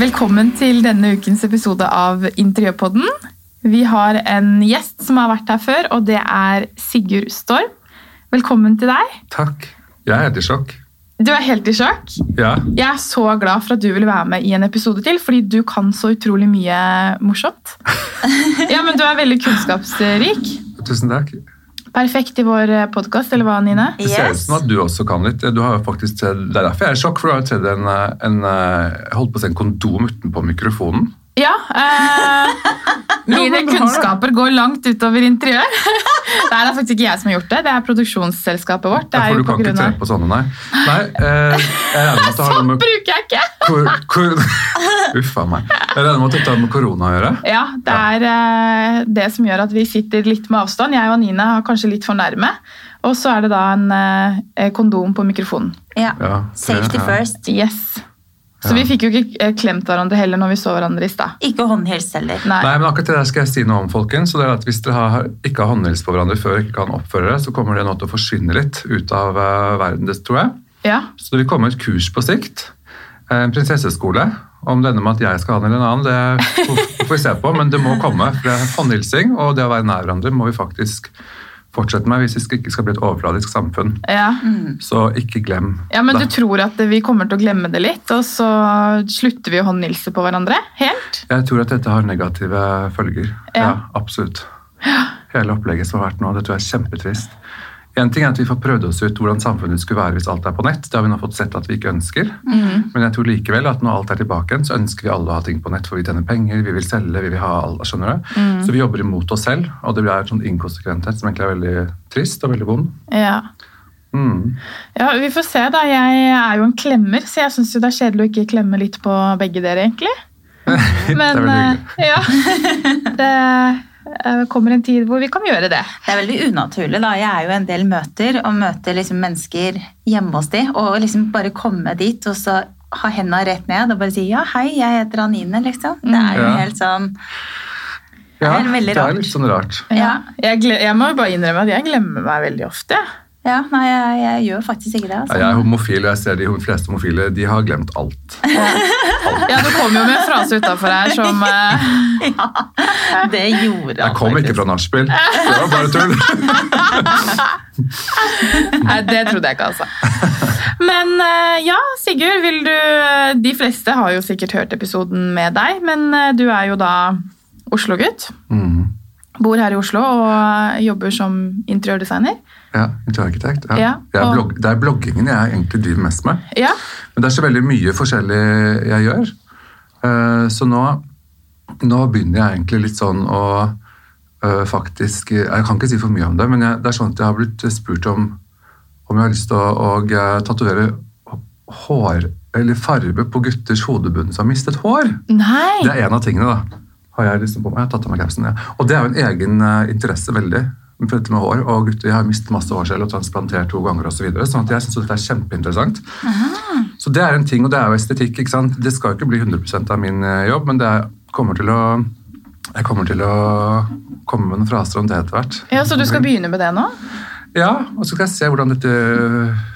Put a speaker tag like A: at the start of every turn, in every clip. A: Velkommen til denne ukens episode av Interiørpodden. Vi har en gjest som har vært her før, og det er Sigurd Storm. Velkommen til deg.
B: Takk. Jeg er helt i sjokk.
A: Du er helt i sjokk.
B: Ja.
A: Jeg er så glad for at du ville være med i en episode til, fordi du kan så utrolig mye morsomt. Ja, men du er veldig kunnskapsrik.
B: Tusen takk.
A: Perfekt i vår podkast, eller hva, Nine?
B: Det ser ut som at du også kan litt. Du har jo faktisk, tredd- det er derfor jeg er i sjokk, for du har jo tredd en, eh, en eh, jeg holdt på å si en kondom utenpå mikrofonen.
A: Ja. Eh,
B: Jo,
A: mine
B: men du har det.
A: kunnskaper går langt utover interiør. Nei, det er faktisk ikke jeg som har gjort det. Det er produksjonsselskapet vårt. Det
B: Ja,
A: er
B: for
A: jo
B: du
A: på
B: kan ikke
A: grunn
B: tre
A: av...
B: på sånne, nei. Nei, eh, jeg regner med at det har noe med
A: bruker jeg ikke.
B: kor... kor Uff a meg. Jeg regner med at dette har med korona å gjøre.
A: Ja, det er eh, det som gjør at vi sitter litt med avstand. Jeg og Nina har kanskje litt for nærme. Og så er det da en eh, kondom på mikrofonen.
C: Ja.
B: Ja,
C: Safety
B: ja.
C: first.
A: Yes. Så vi
B: Ja.
A: fikk jo ikke eh, klemt hverandre heller når vi så hverandre i stad.
C: Ikke håndhils heller.
A: Nei.
B: Nei, men akkurat det der skal jeg si noe om, folkens. Så det er at Hvis dere har, ikke har håndhils på hverandre før og ikke kan oppføre dere, så kommer det nå til å forsvinne litt ut av eh, verden, det tror jeg.
A: Ja.
B: Så det vil komme et kurs på sikt. Eh, En prinsesseskole. Om denne med at jeg skal ha den eller en annen, det får- får vi se på, men det må komme. For det er håndhilsing, og det å være nær hverandre må vi faktisk fortsette med hvis vi skal- ikke skal bli et overfladisk samfunn.
A: Ja.
B: Så ikke glem
A: ja, men du
B: det.
A: tror at vi kommer til å glemme det litt, og så slutter vi å håndhilse på hverandre helt?
B: Jeg tror at dette har negative følger.
A: Ja.
B: Ja, absolutt. Hele opplegget som har vært nå, det tror jeg er kjempetrist. En ting er at vi får prøvd oss ut hvordan samfunnet skulle være hvis alt er på nett. Det har vi nå fått sett at vi ikke ønsker.
C: Mhm.
B: Men jeg tror likevel at når alt er tilbake igjen, så ønsker vi alle å ha ting på nett, for vi tjener penger, vi vil selge, vi vil ha alt, skjønner du?
C: Mhm.
B: Så vi jobber imot oss selv, og det blir en sånn inkonsekventhet som egentlig er veldig trist og veldig vond.
A: Ja.
B: Mm.
A: ja, vi får se, da. Jeg er jo en klemmer, så jeg syns jo det er kjedelig å ikke klemme litt på begge dere, egentlig. Men
B: det er veldig hyggelig.
A: eh, ja, det eh, kommer en tid hvor vi kan gjøre det.
C: Det er veldig unaturlig. da. Jeg er jo en del møter, og møter liksom mennesker hjemme hos de, og liksom bare komme dit og så ha henda rett ned og bare si 'ja, hei, jeg heter Anine', liksom. Det er jo
B: Mm. Ja.
C: helt sånn Det
B: Ja,
C: er veldig
B: det
C: rart.
B: er litt sånn rart.
C: Ja.
A: Jeg, gle- jeg må jo bare innrømme at jeg glemmer meg veldig ofte.
C: Ja, nei, jeg, jeg gjør faktisk ikke det.
B: Ja,
C: altså.
B: Jeg er homofil, og jeg ser de fleste homofile, de har glemt alt.
A: Ja, Du kom jo med en frase utafor her som eh,
C: Det gjorde
B: Jeg kom ikke fra nachspiel. Det var bare tull.
A: Nei, det trodde jeg ikke, altså. Men eh, ja, Sigurd, vil du eh, De fleste har jo sikkert hørt episoden med deg, men eh, du er jo da Oslo-gutt.
B: Mm.
A: Bor her i Oslo og eh, jobber som interiørdesigner.
B: Ja, interiørarkitekt. Ja.
A: Ja, og-
B: Jeg er blogg, det er bloggingen jeg egentlig driver mest med.
A: Ja,
B: Men det er så veldig mye forskjellig jeg gjør. Eh, Så nå, nå begynner jeg egentlig litt sånn å eh, faktisk Jeg kan ikke si for mye om det, men jeg, det er sånn at jeg har blitt spurt om om jeg har lyst til å og, eh, tatovere hår eller farge på gutters hodebunn som har mistet hår.
A: Nei!
B: Det er en av tingene, da. Har jeg liksom på meg. Jeg har tatt av meg capsen, ja. Og det er jo en egen eh, interesse, veldig. for dette Med hår, og gutter, jeg har mistet masse hår selv og transplantert to ganger osv. Så videre, sånn at jeg syns dette er kjempeinteressant. Så det er en ting, og det er jo estetikk. ikke sant? Det skal jo ikke bli 100 av min eh, jobb, men det er, kommer til å jeg kommer til å komme med noen fraser om det etter hvert.
A: Ja, Så du skal begynne med det nå?
B: Ja, Og så skal jeg se hvordan dette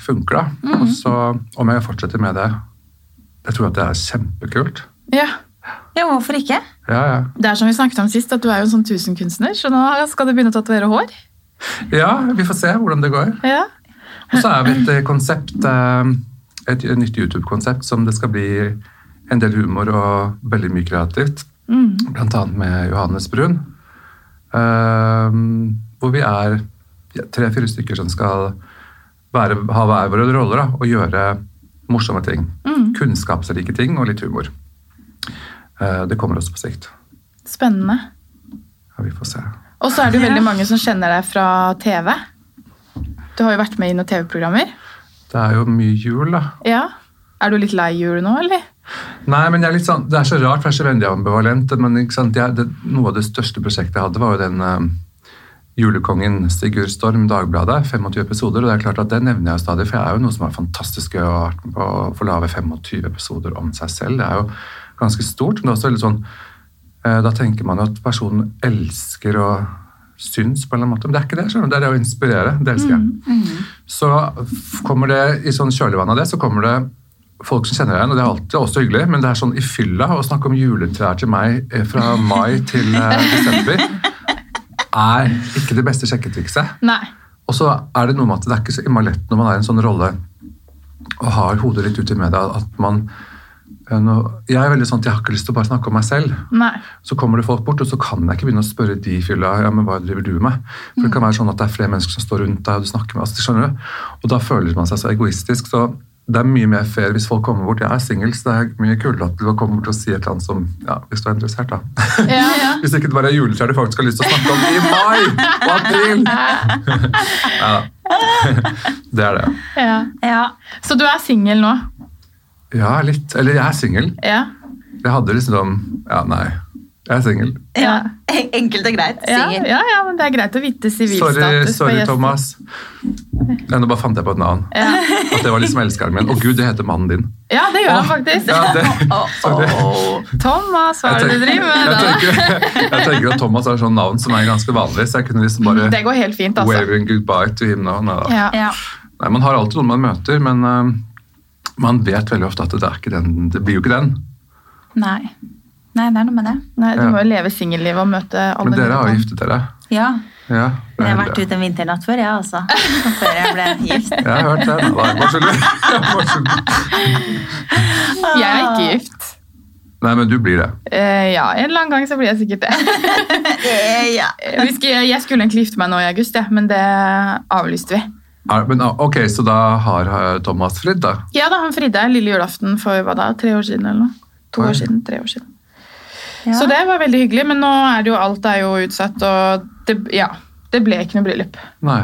B: funker, da.
A: Mhm.
B: Og så om jeg fortsetter med det. Jeg tror at det er kjempekult.
A: Ja.
C: Ja, hvorfor ikke?
B: Ja, ja.
A: Det er som vi snakket om sist, at du er jo en sånn tusenkunstner, så nå skal du begynne å tatovere hår.
B: Ja, vi får se hvordan det går.
A: Ja.
B: Og så er vi et eh, konsept, eh, et nytt YouTube-konsept som det skal bli en del humor og veldig mye kreativt.
A: Mm.
B: Blant annet med Johannes Brun. eh, Hvor vi er ja, tre-fire stykker som skal være, ha hver våre roller da, og gjøre morsomme ting. Kunnskapsrike ting og litt humor. Eh, Det kommer også på sikt.
A: Spennende.
B: Ja, vi får se.
A: Og så er det jo
C: Ja.
A: veldig mange som kjenner deg fra TV. Du har jo vært med i noen TV-programmer.
B: Det er jo mye jul, da.
A: Ja. Er du litt lei jul nå, eller?
B: Nei, men jeg er litt sånn, Det er så rart, for jeg er så veldig ambivalent. Men ikke sant? Jeg, det, noe av det største prosjektet jeg hadde, var jo den eh, julekongen Sigurd Storm Dagbladet. 25 episoder. Og det er klart at det nevner jeg jo stadig, for jeg er jo noe som er fantastisk gøy å ha vært med på. Å få lage 25 episoder om seg selv. Det er jo ganske stort. Men det er også veldig sånn eh, Da tenker man jo at personen elsker og syns på en eller annen måte. Men det er ikke det. skjønner du. Det er det å inspirere. Det elsker jeg. Så f- kommer det i sånn kjølvann av det, så kommer det folk som kjenner deg igjen, og det er alltid også hyggelig, men det er sånn i fylla å snakke om juletrær til meg eh, fra mai til eh, desember er ikke det beste sjekketrikset.
A: Nei.
B: Og så er det noe med at det er ikke så innmari lett når man er i en sånn rolle og har hodet litt ute i media, at man eh, nå- Jeg er veldig sånn at jeg har ikke lyst til å bare snakke om meg selv.
A: Nei.
B: Så kommer det folk bort, og så kan jeg ikke begynne å spørre de i fylla ja, men hva driver du med. For det kan være sånn at det er flere mennesker som står rundt deg og du snakker med. Altså, skjønner du? Og da føler man seg så egoistisk. Så det er mye mer fair hvis folk kommer bort. Jeg er singel, så det er mye kulere at du kommer bort og sier et eller annet som Ja, hvis du er interessert, da.
A: Ja, ja.
B: Hvis ikke det bare er juletrær du faktisk har lyst til å snakke om i mai og april! Ja. Det er det.
A: ja.
C: Ja.
A: Så du er singel nå?
B: Ja, litt. Eller jeg er singel.
A: Ja.
B: Jeg hadde liksom Ja, nei. Jeg er singel.
C: ja. Enkelt og greit.
A: Ja,
C: Singel.
A: ja, ja, men det er greit å vite
B: Sorry,
A: sivilstatus. på
B: sorry
A: gjester.
B: Thomas. Nei, nå bare fant jeg på et navn.
A: Ja.
B: At det var liksom elskeren min. Å gud, det heter mannen din.
A: ja, det gjør han faktisk.
B: Ja, det, jeg,
C: Å, å.
A: Thomas, hva er det du driver med? da?
B: tenker, jeg tenker at Thomas er sånn navn som er ganske vanlig, så jeg kunne liksom bare
A: Det går helt fint, altså.
B: waving goodbye to him now. Nei, da.
A: Ja.
C: Ja.
B: Nei, man har alltid noen man møter, men eh, man vet veldig ofte at det, er ikke den, det blir jo ikke den.
C: Nei. Nei, det er noe med det.
A: Nei, du
B: Ja.
A: må jo leve singellivet og møte alle
B: Men dere har jo
A: mennesker.
B: giftet dere.
C: Ja.
B: Ja, det
C: Men jeg
B: er
C: har vært
B: heldig.
C: ute en vinternatt før, jeg, ja, altså. Før jeg ble gift.
B: Jeg har hørt det. Nei, da, bare skjønner. Bare skjønner.
A: Jeg er ikke gift.
B: Nei, men du blir det.
A: Eh, ja, en eller annen gang så blir jeg sikkert det.
C: Eh, Ja.
A: Vi skulle, jeg skulle egentlig gifte meg nå i august, ja, men det avlyste vi.
B: Er, men, ah, ok, Så da har eh, Thomas fridd, da?
A: Ja da, han fridde lille julaften for hva da, tre år siden eller noe. To
B: Oi.
A: år siden, tre år siden.
C: Ja.
A: Så det var veldig hyggelig, men nå er det jo alt er jo utsatt, og det, ja, det ble ikke noe bryllup.
B: Nei.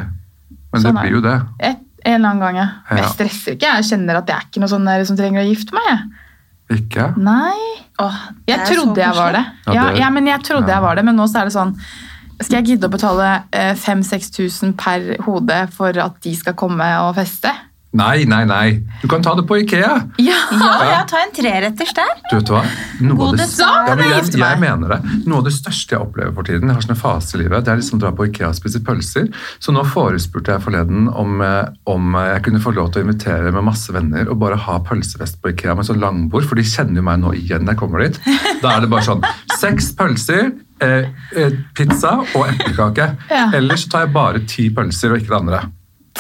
B: Men
A: Sånn
B: det
A: er
B: blir jo det.
A: Et, en eller annen gang, ja. Men
B: Ja.
A: jeg stresser ikke, jeg kjenner at jeg er ikke noe sånn der som trenger å gifte meg. jeg.
B: Ikke?
A: Nei.
C: Åh, det
A: Jeg
C: er så
A: trodde jeg var det.
C: koselig.
B: Ja,
A: Ja,
B: det-
A: ja, men jeg trodde
B: ja.
A: jeg var det, men nå så er det sånn Skal jeg gidde å betale 5000-6000 per hode for at de skal komme og feste?
B: Nei, nei, nei. Du kan ta det på Ikea.
A: Ja!
C: Ja, ja, ta en treretters der.
B: Du vet hva? Noe av det,
C: Hodet sa
B: ja, men
A: jeg
B: jeg,
A: gifter
B: jeg
A: meg.
B: mener det. Noe av det største jeg opplever for tiden, jeg har sånne faser i livet, det er liksom å dra på Ikea og spise pølser. Så nå forespurte jeg forleden om, eh, om eh, jeg kunne få lov til å invitere med masse venner og bare ha pølsefest på Ikea med sånn langbord, for de kjenner jo meg nå igjen når jeg kommer dit. Da er det bare sånn seks pølser, eh, eh, pizza og eplekake.
A: Ja.
B: Ellers så tar jeg bare ti pølser og ikke det andre.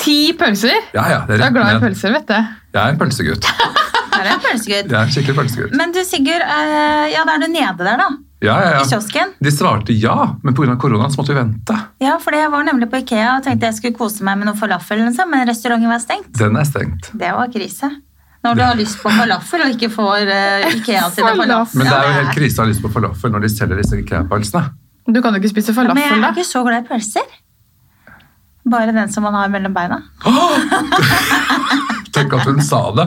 A: Ti pølser!
B: Ja, ja, det
A: Du
B: er
A: er glad i
B: rett ned.
A: pølser, vet du.
B: Jeg er en pølsegutt.
C: Her er en pølsegutt.
B: Jeg er en skikkelig pølsegutt.
C: Men du, Sigurd, eh, ja, da er du nede der, da.
B: Ja, ja,
C: I
B: ja.
C: kiosken.
B: De svarte ja, men pga. koronaen så måtte vi vente.
C: Ja, for jeg var nemlig på Ikea og tenkte jeg skulle kose meg med noen falafel, liksom, men restauranten var stengt.
B: Den er stengt.
C: Det var krise. Når du har lyst på falafel og ikke får eh, Ikea sine
A: Falafel.
C: falafel.
B: Men det er jo helt
C: Ja, det er-
B: krise å ha lyst på falafel når de selger disse IKEA-pølsene.
A: Du kan jo ikke spise
C: Men jeg
A: falafel,
C: er
A: da.
C: ikke så glad i pølser. Bare den som man har mellom beina.
B: Tenk at hun sa det!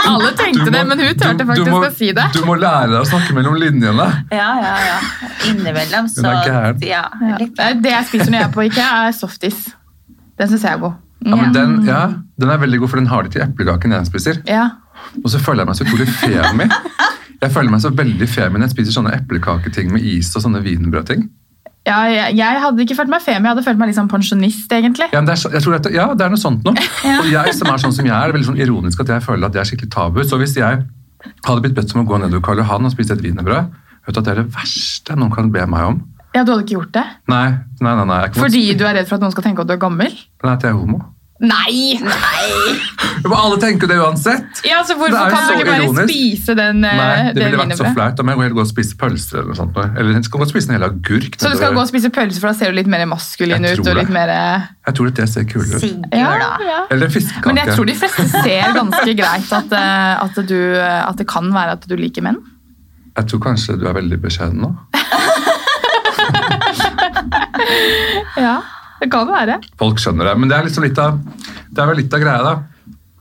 A: Alle
B: Du
A: tenkte
B: må-
A: det, men hun
B: du-
A: turte
B: du
A: faktisk
B: må-
A: å si det.
B: Du må lære deg å snakke mellom linjene.
C: Ja, ja, ja. Innimellom, så
B: Hun er gæren.
C: Ja,
A: Ja.
C: litt.
A: Nei, Det jeg spiser når jeg er på IKEA, er softis. Den syns jeg er god.
B: Ja, men
C: Ja.
B: den, ja, den er veldig god, for den har de til eplekaken jeg spiser.
A: Ja.
B: Og så føler jeg meg så utrolig femi. Jeg føler meg så veldig femi når jeg spiser sånne eplekaketing med is og sånne wienerbrødting.
A: Ja, jeg, jeg hadde ikke følt meg femi, jeg hadde følt meg litt sånn pensjonist, egentlig.
B: Ja, men det er, så- jeg tror at, ja, det er noe sånt nå. Og jeg som er sånn som jeg er, er veldig sånn ironisk at jeg føler at det er skikkelig tabu. Så hvis jeg hadde blitt bedt om å gå nedover Karl Johan og spise et wienerbrød, vet du at det er det verste noen kan be meg om?
A: Ja, Du hadde ikke gjort det?
B: Nei, nei, nei. nei jeg kan
A: Fordi du er redd for at noen skal tenke at du er gammel?
B: Nei, at jeg er homo.
A: Nei!
B: Men alle tenker det uansett.
A: Ja, så
B: Det er
A: Hvorfor
B: jo
A: kan
B: så
A: du ikke bare
B: ironisk.
A: spise den, eh,
B: Nei, det
A: det
B: ville vært så
A: wienerbrødet?
B: flaut. Da må jeg gå helt gå og spise pølser eller noe sånt. nå. Eller jeg skal gå og spise en hel agurk.
A: Så du skal gå og spise pølse, for da ser du litt mer maskulin
B: Jeg
A: ut?
B: tror
A: og litt
B: det.
A: mer... eh,
B: Jeg tror at det ser kulere ut.
C: Sigurd,
A: Ja,
C: da.
A: ja.
B: Eller en fiskekake.
A: Men jeg tror de fleste ser ganske greit at, eh, at, du, eh, at det kan være at du liker menn.
B: Jeg tror kanskje du er veldig beskjeden nå.
A: Ja, det kan være.
B: Folk skjønner det. Men det er liksom litt av, det er vel litt av greia, da.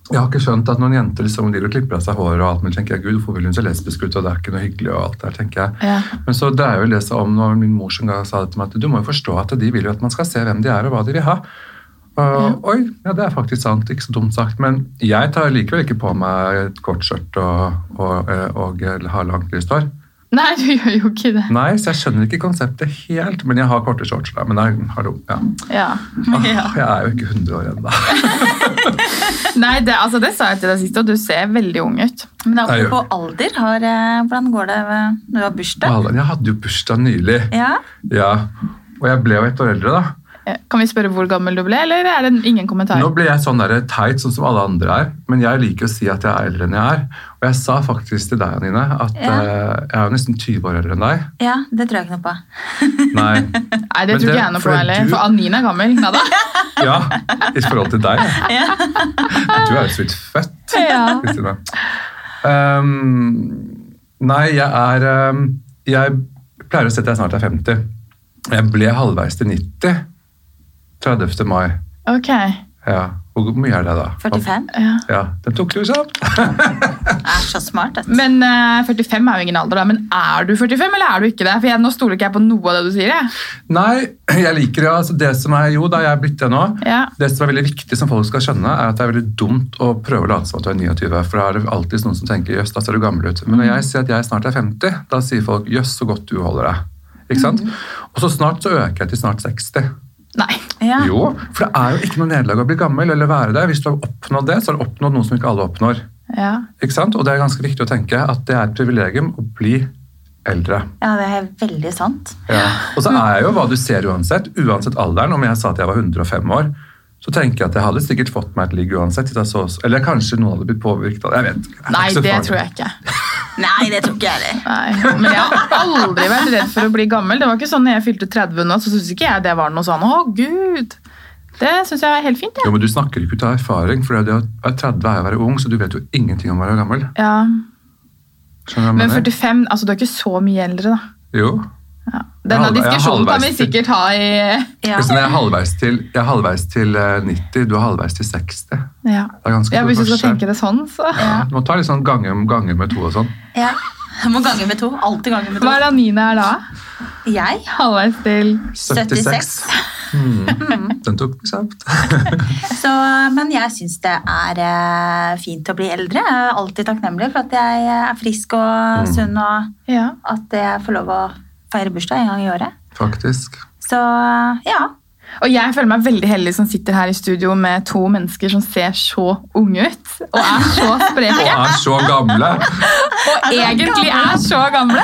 B: Jeg har ikke skjønt at noen jenter liksom, de klipper av seg håret og alt, men tenker jeg, gud, hvorfor vil hun se lesbisk ut, og det er ikke noe hyggelig og alt der, tenker jeg.
A: Ja.
B: Men så dreier jo det seg om når min mor som ga- sa det til meg, at du må jo forstå at de vil jo at man skal se hvem de er og hva de vil ha. Og, Oi, ja, det er faktisk sant. Ikke så dumt sagt. Men jeg tar likevel ikke på meg et kort skjørt og, og, eh, og, eh, har langt lyst hår.
A: Nei, du gjør jo ikke det.
B: Nei, så jeg skjønner ikke konseptet helt. Men jeg har korte shorts, da. Men jeg, hallo, ja.
A: Ja.
B: Åh,
A: ja.
B: jeg er jo ikke 100 år ennå.
A: Nei, det, altså, det sa jeg til deg sist, og du ser veldig ung ut.
C: Men
B: Nei, jeg
C: apropos alder, har, eh, hvordan går det eh, når du har bursdag?
B: Jeg hadde jo bursdag nylig.
C: Ja,
B: Ja. Og jeg ble jo ett år eldre, da.
A: Eh, Kan vi spørre hvor gammel du ble, eller er det ingen kommentar?
B: Nå ble jeg sånn der teit, sånn som alle andre er, men jeg liker å si at jeg er eldre enn jeg er. Og jeg sa faktisk til deg, Anine, at
C: Ja.
B: eh, jeg er jo nesten 20 år eldre enn deg.
C: ja, det tror jeg ikke noe på.
B: Nei.
A: Nei, det
B: Men
A: tror
B: det-
A: ikke jeg noe på
B: for
A: heller.
B: du-
A: For Anine er gammel. Neida.
B: Ja, i forhold til deg.
C: Ja.
B: Du er jo så vidt født,
A: Ja.
B: Kristine. Ehm, nei, jeg er ehm, Jeg pleier å si at jeg snart er 50. Jeg ble halvveis til 90 30. mai.
A: Ok.
B: Ja. Hvor mye er det, da?
C: 45.
A: Ja.
B: Ja, Den tok du, sant?
C: Er så smart. Vet du.
A: Men eh, 45 er jo ingen alder, da. Men er du 45, eller er du ikke det? For jeg, nå stoler ikke jeg på noe av det du sier. Jeg.
B: Nei, jeg liker det. Altså, det som er, jo, da jeg er blitt det nå.
A: Ja.
B: Det som er veldig viktig som folk skal skjønne, er at det er veldig dumt å prøve å late som at du er 29. For da er det alltid noen som tenker jøss, da ser du gammel ut. Men når jeg sier at jeg snart er 50, da sier folk jøss, så godt du holder deg. Ikke sant? Og så snart så øker jeg til snart 60.
A: Nei.
C: Ja.
B: Jo, for det er jo ikke noe nederlag å bli gammel eller være det. Hvis du har oppnådd det, så har du oppnådd noe som ikke alle oppnår.
A: Ja.
B: Ikke sant? Og det er ganske viktig å tenke at det er et privilegium å bli eldre.
C: ja, det er veldig sant.
B: Ja. Og så er jeg jo hva du ser uansett. Uansett alderen. Om jeg sa at jeg var 105 år, så tenker jeg at jeg hadde sikkert fått meg et ligg uansett. hvis jeg Så, eller kanskje noen hadde blitt påvirket av det. Jeg vet ikke. er
A: Nei,
B: ikke så
A: det
B: farlig.
A: tror jeg ikke.
C: Nei, det tror ikke jeg heller.
A: Nei. Men jeg har aldri vært redd for å bli gammel. Det var ikke sånn når jeg fylte 30 nå, så syntes ikke jeg det var noe sånn å gud. Det syns jeg er helt fint, jeg.
B: Jo, men Du snakker ikke ut av erfaring, for det å være 30 er å være ung, så du vet jo ingenting om å være gammel.
A: Ja.
B: Skjønner du hva
A: Men
B: jeg mener?
A: 45, altså du er ikke så mye eldre, da.
B: Jo.
A: Ja. Denne
B: halv- jeg er
A: diskusjonen kan vi
B: halvveis til-
A: sikkert ha i
C: Ja.
B: Kristin, Jeg er halvveis til, jeg er halvveis til eh, 90, du er halvveis til 60. Det
A: Ja.
B: er ganske
A: Ja,
B: stor
A: hvis du skal
B: forskjell.
A: tenke det sånn, så.
B: Ja, du må ta litt sånn ganger, ganger med to og sånn.
C: ja. Jeg må gange med to. Alltid gange med
A: Hva er det
C: to.
A: Anine er da?
C: Jeg?
A: Halvveis til
C: 76.
B: Mm. Den tok vi kjapt.
C: Så, eh, men jeg syns det er eh, fint å bli eldre. Jeg er alltid takknemlig for at jeg eh, er frisk
B: Mm.
C: og sunn, og
A: Ja.
C: at jeg får lov å feire bursdag en gang i året.
B: Faktisk.
C: Så ja.
A: Og jeg føler meg veldig heldig som sitter her i studio med to mennesker som ser så unge ut, og er så
B: Og
A: spreke,
B: er så gamle!
A: og egentlig er så gamle.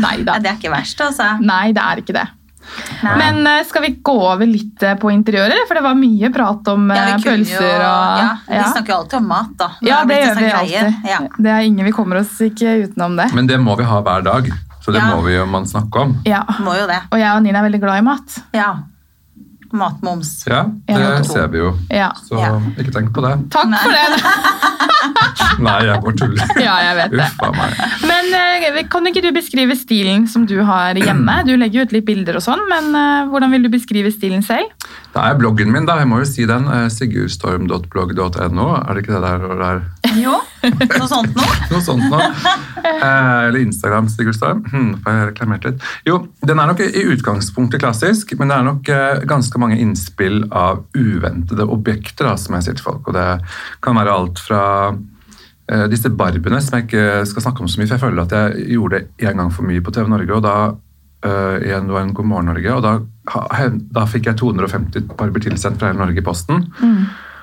A: Nei da.
C: ja, det er ikke verst, altså.
A: Nei, det er ikke det.
C: Nei.
A: Men eh, skal vi gå over litt eh, på interiøret, for det var mye prat om
C: Ja,
A: eh,
C: vi kunne jo-
A: pølser og
C: ja, Vi
A: Ja.
C: snakker jo alltid om mat, da. Nå
A: Ja,
C: har
A: det
C: blitt
A: gjør
C: en
A: vi
C: sånn greie.
A: alltid.
C: Ja.
A: Det er ingen, Vi kommer oss ikke utenom det.
B: Men det må vi ha hver dag, så det
C: Ja.
B: må vi jo man snakke om.
A: Ja.
C: Må jo det.
A: Og jeg og Nina er veldig glad i mat.
C: Ja. Matmoms.
B: Ja,
A: Ja,
B: det
A: nettopp.
B: ser vi jo.
A: Ja.
B: Så
C: Ja.
B: ikke tenk på det.
A: Takk
C: Nei.
A: for det!
B: Nei, jeg bare tuller.
A: Ja, jeg vet det.
B: Uff a meg.
A: Men eh, kan ikke du beskrive stilen som du har hjemme? Du legger jo ut litt bilder og sånn, men eh, hvordan vil du beskrive stilen selv?
B: Det er bloggen min, da. Jeg må jo si den. eh, Sigurdstorm.blogg.no. Er det ikke det der? og der?
C: Jo, noe sånt noe.
B: Noe sånt nå. Eh, eller Instagram, Sigurdstorm. Hm, får jeg reklamert litt? Jo, den er nok i utgangspunktet klassisk, men det er nok eh, ganske mange innspill av uventede objekter, da, som jeg sier til folk. Og det kan være alt fra eh, disse barbiene, som jeg ikke skal snakke om så mye, for jeg føler at jeg gjorde det en gang for mye på TV Norge, og da eh, igjen, det var en God morgen Norge, og da, ha- hev- da fikk jeg 250 barber tilsendt fra hele Norge i posten.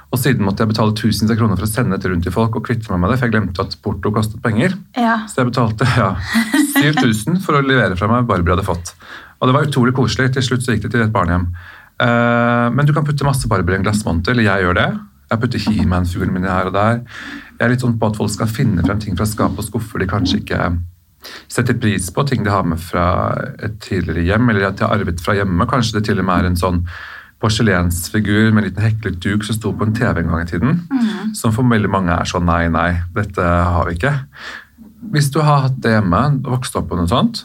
B: Og siden måtte jeg betale tusenvis av kroner for å sende dette rundt til folk og kvitte meg med det, for jeg glemte at porto kostet penger.
C: Ja.
B: Så jeg betalte ja, 7000 for å levere fra meg Barbara hadde fått. Og det var utrolig koselig. Til slutt så gikk det til et barnehjem. Eh, men du kan putte masse Barbara i en glassmonter, eller jeg gjør det. Jeg putter He-Man-fuglen min her og der. Jeg er litt sånn på at folk skal finne frem ting fra skap og skuffer de kanskje ikke setter pris på, ting de har med fra et tidligere hjem, eller at de har arvet fra hjemme. Kanskje det til og med er en sånn porselensfigur med en liten heklet duk som sto på en TV en gang i tiden. Som for veldig mange er sånn nei, nei, dette har vi ikke. Hvis du har hatt det hjemme, vokst opp på noe sånt,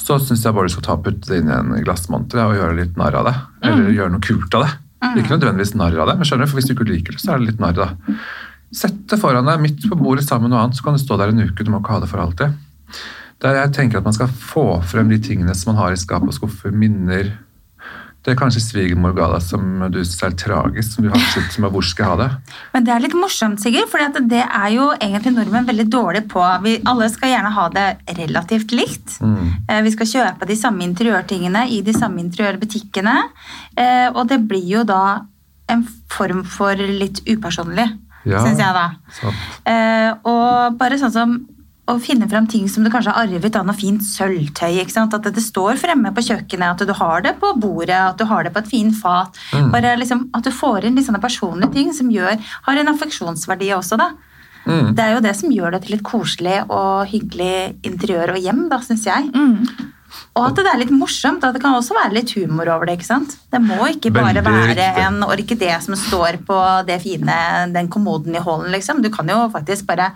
B: så syns jeg bare du skal ta og putte det inn i en glassmonter ja, og gjøre litt narr av det. Eller gjøre noe kult av det. Ikke nødvendigvis narr av det, men skjønner du, for hvis du ikke liker det, så er det litt narr av det. Sett det foran deg midt på bordet sammen med noe annet, så kan det stå der en uke. Du må ikke ha det for alltid. Der jeg tenker at man skal få frem de tingene som man har i skap og skuffer, minner, Det er kanskje svigermor ga deg som du synes er tragisk, som du har skjønt som er hvor skal jeg ha det?
C: Men det er litt morsomt, Sigurd, for det er jo egentlig nordmenn veldig dårlige på. Vi alle skal gjerne ha det relativt likt.
B: Mm.
C: Eh, Vi skal kjøpe de samme interiørtingene i de samme interiørbutikkene. eh, Og det blir jo da en form for litt upersonlig,
B: Ja.
C: syns jeg da.
B: Sant.
C: Eh, og bare sånn som å finne fram ting som du kanskje har arvet av noe fint sølvtøy. ikke sant? At det står fremme på kjøkkenet, at du har det på bordet, at du har det på et fint fat.
B: Mm.
C: Bare liksom At du får inn litt sånne personlige ting som gjør, har en affeksjonsverdi også, da.
B: Mm.
C: Det er jo det som gjør det til et koselig og hyggelig interiør og hjem, da, syns jeg.
A: Mm.
C: Og at det er litt morsomt. At det kan også være litt humor over det. ikke sant? Det må ikke bare
B: Veldig
C: være
B: riktig.
C: en orkidé som står på det fine, den kommoden i hallen, liksom. Du kan jo faktisk bare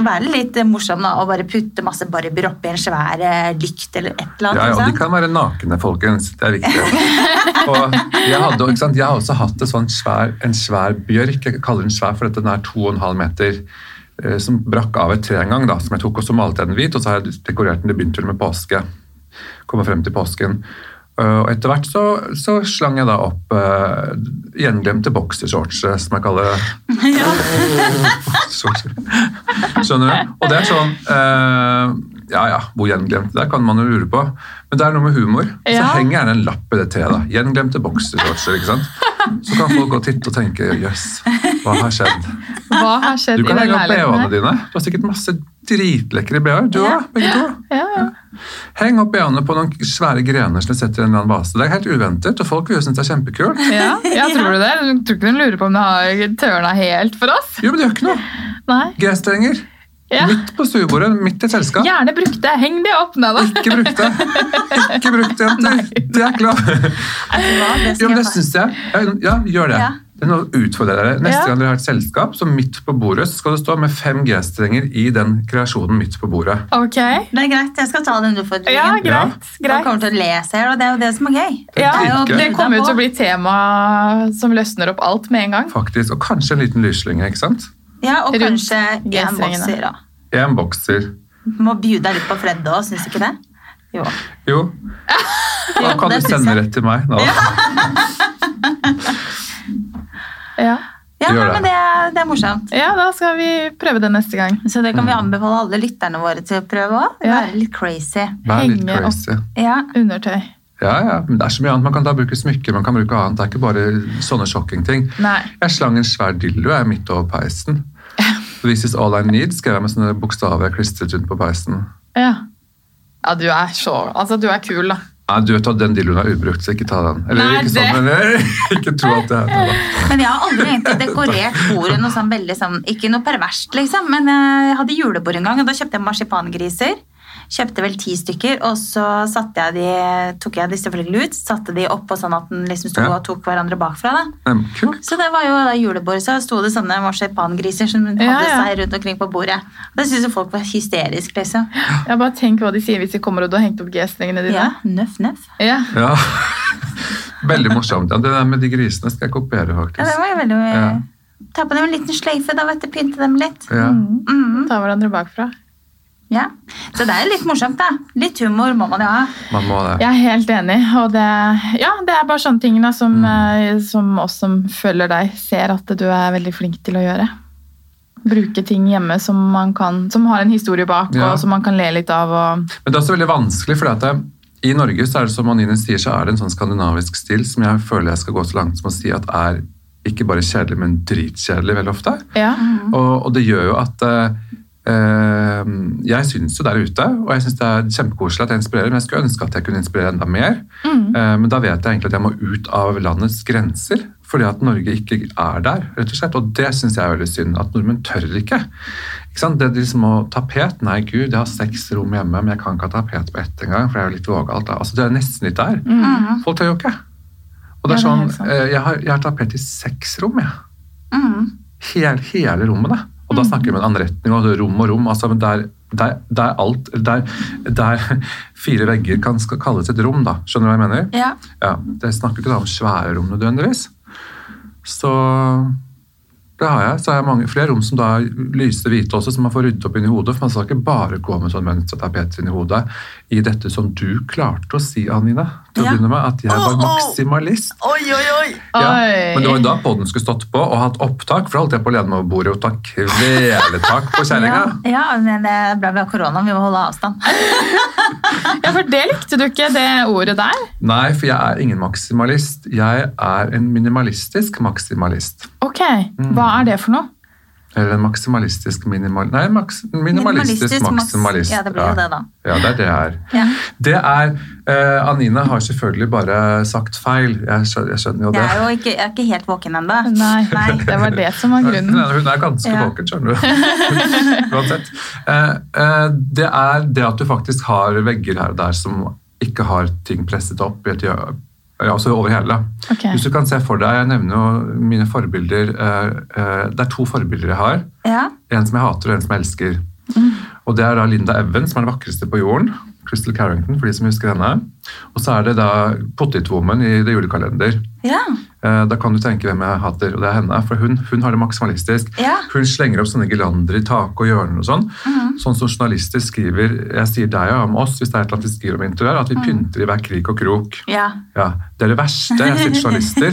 C: være litt morsom da, og bare putte masse barber oppi en svær eh, lykt eller et eller
B: Ja,
C: annet.
B: ja, og de
C: ikke sant?
B: kan være nakne, folkens. Det er viktig. Og jeg, hadde, ikke sant? jeg har også hatt en sånn svær, en svær bjørk, jeg kaller den svær for at den er 2,5 meter, eh, som brakk av et tre en gang, da, som jeg tok, og så malte jeg den hvit, og så har jeg dekorert den, det begynte vel med påske. Kommer frem til påsken. Eh, Og etter hvert så, så slang jeg da opp eh, gjenglemte boksershorts, eh, som jeg kaller det. Sorry. Skjønner du? Og det er sånn eh, Ja ja, hvor gjenglemte det er, kan man jo lure på. Men det er noe med humor. Så
A: Ja.
B: henger gjerne en lapp i det treet. da. Gjenglemte boksershortser. ikke sant? Så kan folk gå titt og tenke jøss, hva har skjedd?
A: Hva har
B: Du
A: skjedd i
B: kan
A: den
B: henge opp
A: leiligheten
B: BH-ene
A: her?
B: dine. Du har sikkert masse dritlekre BH-er. Du òg, begge to.
A: Ja, ja.
B: Heng opp BH-ene på noen svære grener som du setter i en eller annen vase. Det er helt uventet, og folk vil jo synes det er kjempekult.
A: Ja, ja, tror du det? Jeg tror ikke hun lurer på om det har tørna helt for oss.
B: Jo, men det gjør ikke noe.
A: Nei.
B: G-strenger.
A: Ja.
B: Midt på stuebordet, midt i et selskap.
A: Gjerne brukte. Heng de opp ned, da.
B: Ikke brukt det. Ikke brukt det, jenter. Det er klart.
C: Vet du Altså, hva, det skal
B: Jo, men det
C: jeg
B: syns jeg. Ja, ja, gjør det.
C: Ja.
B: Det er noe å utfordre dere. Neste
A: Ja.
B: gang dere har et selskap, så midt på bordet så skal det stå med fem G-strenger i den kreasjonen midt på bordet.
A: Ok.
C: ta- det er greit, jeg skal ta den
A: Ja,
C: utfordringen.
A: greit.
C: Man
A: greit.
C: kommer til å le seg i hjel, og det er jo det som er gøy.
A: Ja,
C: det er jo
B: dritgøy.
A: det kommer jo til å bli tema som løsner opp alt med en gang.
B: Faktisk. Og kanskje en liten lyslynge, ikke sant?
C: Ja, og
A: rundt
C: kanskje en
A: G-strengene.
C: bokser òg.
B: En bokser.
C: Må bjude deg litt på Fred òg, syns du ikke det? Jo.
B: Jo. Da kan
C: det
B: du
C: syns
B: sende
C: jeg.
B: rett til meg. Nå.
A: Ja.
C: Ja,
B: Gjør
C: nei,
B: det.
C: men det, er- det er morsomt.
A: ja, da skal vi prøve det neste gang.
C: Så det kan vi anbefale alle lytterne våre til å prøve òg.
A: Ja.
C: Være litt crazy.
B: Vær litt
A: Henge opp.
B: crazy.
C: Ja.
A: Undertøy.
B: Ja, ja. Men det er så mye annet. Man kan da bruke smykker, man kan bruke annet. Det er ikke bare sånne shockingting.
A: Nei.
B: Jeg slang en svær dildo jeg midt over peisen. This is all I need, skrev jeg med sånne bokstaver klistret rundt på peisen.
A: Ja. Ja, du er så Altså, du er kul, da.
B: Nei, du vet at den dildoen er ubrukt, så ikke ta den. Eller
A: Nei,
B: ikke sånn, men ikke tro at det er Nei da.
C: Men jeg har aldri egentlig dekorert bordet noe sånn veldig sånn Ikke noe perverst, liksom, men eh, jeg hadde julebord en gang, og da kjøpte jeg marsipangriser. Kjøpte vel ti stykker, og så satte jeg de, tok jeg de selvfølgelig ut. Satte de oppå sånn at den liksom sto
B: Ja.
C: og tok hverandre bakfra. da.
B: Nei, men Kult.
C: Så det var jo da julebordet, så sto det sånne marsipangriser som hadde
A: Ja, ja.
C: seg rundt omkring på bordet. Det syntes jo folk var hysterisk, liksom.
A: Jeg bare Tenk hva de sier hvis de kommer og du har hengt opp G-strengene dine.
C: Ja, nøff, nøff.
A: Ja.
B: Ja. Veldig morsomt. Ja, det der med de grisene skal jeg kopiere,
C: Ja, det
B: faktisk.
C: var jo veldig...
B: Ja.
C: Ta på dem en liten sløyfe, da, vet du, pynte dem litt.
B: Ja.
A: Mm.
C: Mhm,
A: Ta hverandre bakfra.
C: ja. Så det er jo litt morsomt, da. Litt humor må man jo ha.
B: Man må det.
A: Jeg er helt enig. Og det, ja, det er bare sånne ting da, som,
B: Mm.
A: eh, som oss som følger deg, ser at du er veldig flink til å gjøre. Bruke ting hjemme som, man kan, som har en historie bak,
B: Ja.
A: og som man kan le litt av. Og,
B: Men det er også veldig vanskelig, for at det, i Norge så er det som Anine sier, så er det en sånn skandinavisk stil som jeg føler jeg skal gå så langt som å si at er ikke bare kjedelig, men dritkjedelig veldig ofte.
A: ja.
B: Og, og det gjør jo at eh, eh, jeg syns jo der ute, og jeg syns det er kjempekoselig at jeg inspirerer, men jeg skulle ønske at jeg kunne inspirere enda mer.
A: Mm.
B: Eh, men da vet jeg egentlig at jeg må ut av landets grenser, fordi at Norge ikke er der, rett og slett. Og det syns jeg er veldig synd, at nordmenn tør ikke. ikke sant? Det er liksom å tapet Nei, gud, jeg har seks rom hjemme, men jeg kan ikke ha tapet på ett engang, for det er jo litt vågalt. da. Altså, det er nesten litt der.
A: Mm.
C: Mhm,
B: Folk tør jo ikke. Og
A: Ja, det
B: det er
A: er
B: sånn,
A: helt sant.
B: eh, jeg, har, jeg har tapet i seks rom, jeg
C: mhm.
B: hele, hele rommet. Da. Og da snakker vi om en anretning og rom og rom. altså men Der, der, der alt der, der fire vegger kan skal kalles et rom, da. Skjønner du hva jeg mener?
C: Ja.
B: Ja, Det snakker ikke da om svære rom nødvendigvis. Så Det har jeg. Så har jeg mange, flere rom som da er lyse hvite også, som man får ryddet opp inni hodet. For man skal ikke bare gå med sånn mønstertapeter inni hodet i dette som du klarte å si, Anine, til å
C: Ja.
B: begynne med, at jeg var maksimalist.
C: Oi, oi, oi!
B: Ja,
A: Oi.
B: men det var jo da podden skulle stått på og hatt opptak, for da holdt jeg på å lene meg over bordet og ta kveletak på kjerringa.
C: Ja, ja, men det er bra vi har korona, vi må holde avstand.
A: Ja, for det likte du ikke, det ordet der.
B: Nei, for jeg er ingen maksimalist. Jeg er en minimalistisk maksimalist.
A: Ok,
B: Mm.
A: hva er det for noe?
B: Eller en maksimalistisk minimal... Nei, maks, minimalistisk,
C: Minimalistisk maks-
B: maksimalist.
C: Ja, det blir jo det da.
B: Ja, det er det jeg er.
C: Ja.
B: Det er eh, Anine har selvfølgelig bare sagt feil. Jeg skjønner, jeg skjønner jo det.
C: Jeg er jo ikke, jeg er ikke helt våken ennå.
A: Nei, det var det som var grunnen.
B: Nei, Hun er ganske
C: Ja.
B: våken, skjønner du. Uansett. Eh, eh, det er det at du faktisk har vegger her og der som ikke har ting presset opp i et hjør- ja, altså over hele.
A: Ok.
B: Hvis du kan se for deg, Jeg nevner jo mine forbilder. eh, eh, Det er to forbilder jeg har.
C: Ja.
B: En som jeg hater, og en som jeg elsker.
A: Mm.
B: Og Det er da Linda Evan, som er den vakreste på jorden. Crystal Carrington, for de som husker henne. Og så er det da Potetwoman i The Julekalender.
C: Ja.
B: Eh, Da kan du tenke hvem jeg hater, og det er henne. For hun, hun har det maksimalistisk.
C: Ja. Mhm.
B: Hun slenger opp sånne gelander i tak og hjørner og sånn. Sånn som journalister skriver Jeg sier deg og om oss hvis det er et eller annet vi skriver om interiør,
C: Mhm.
B: at vi pynter i hver krik og krok.
C: ja.
B: Ja, Det er det verste jeg har sett journalister.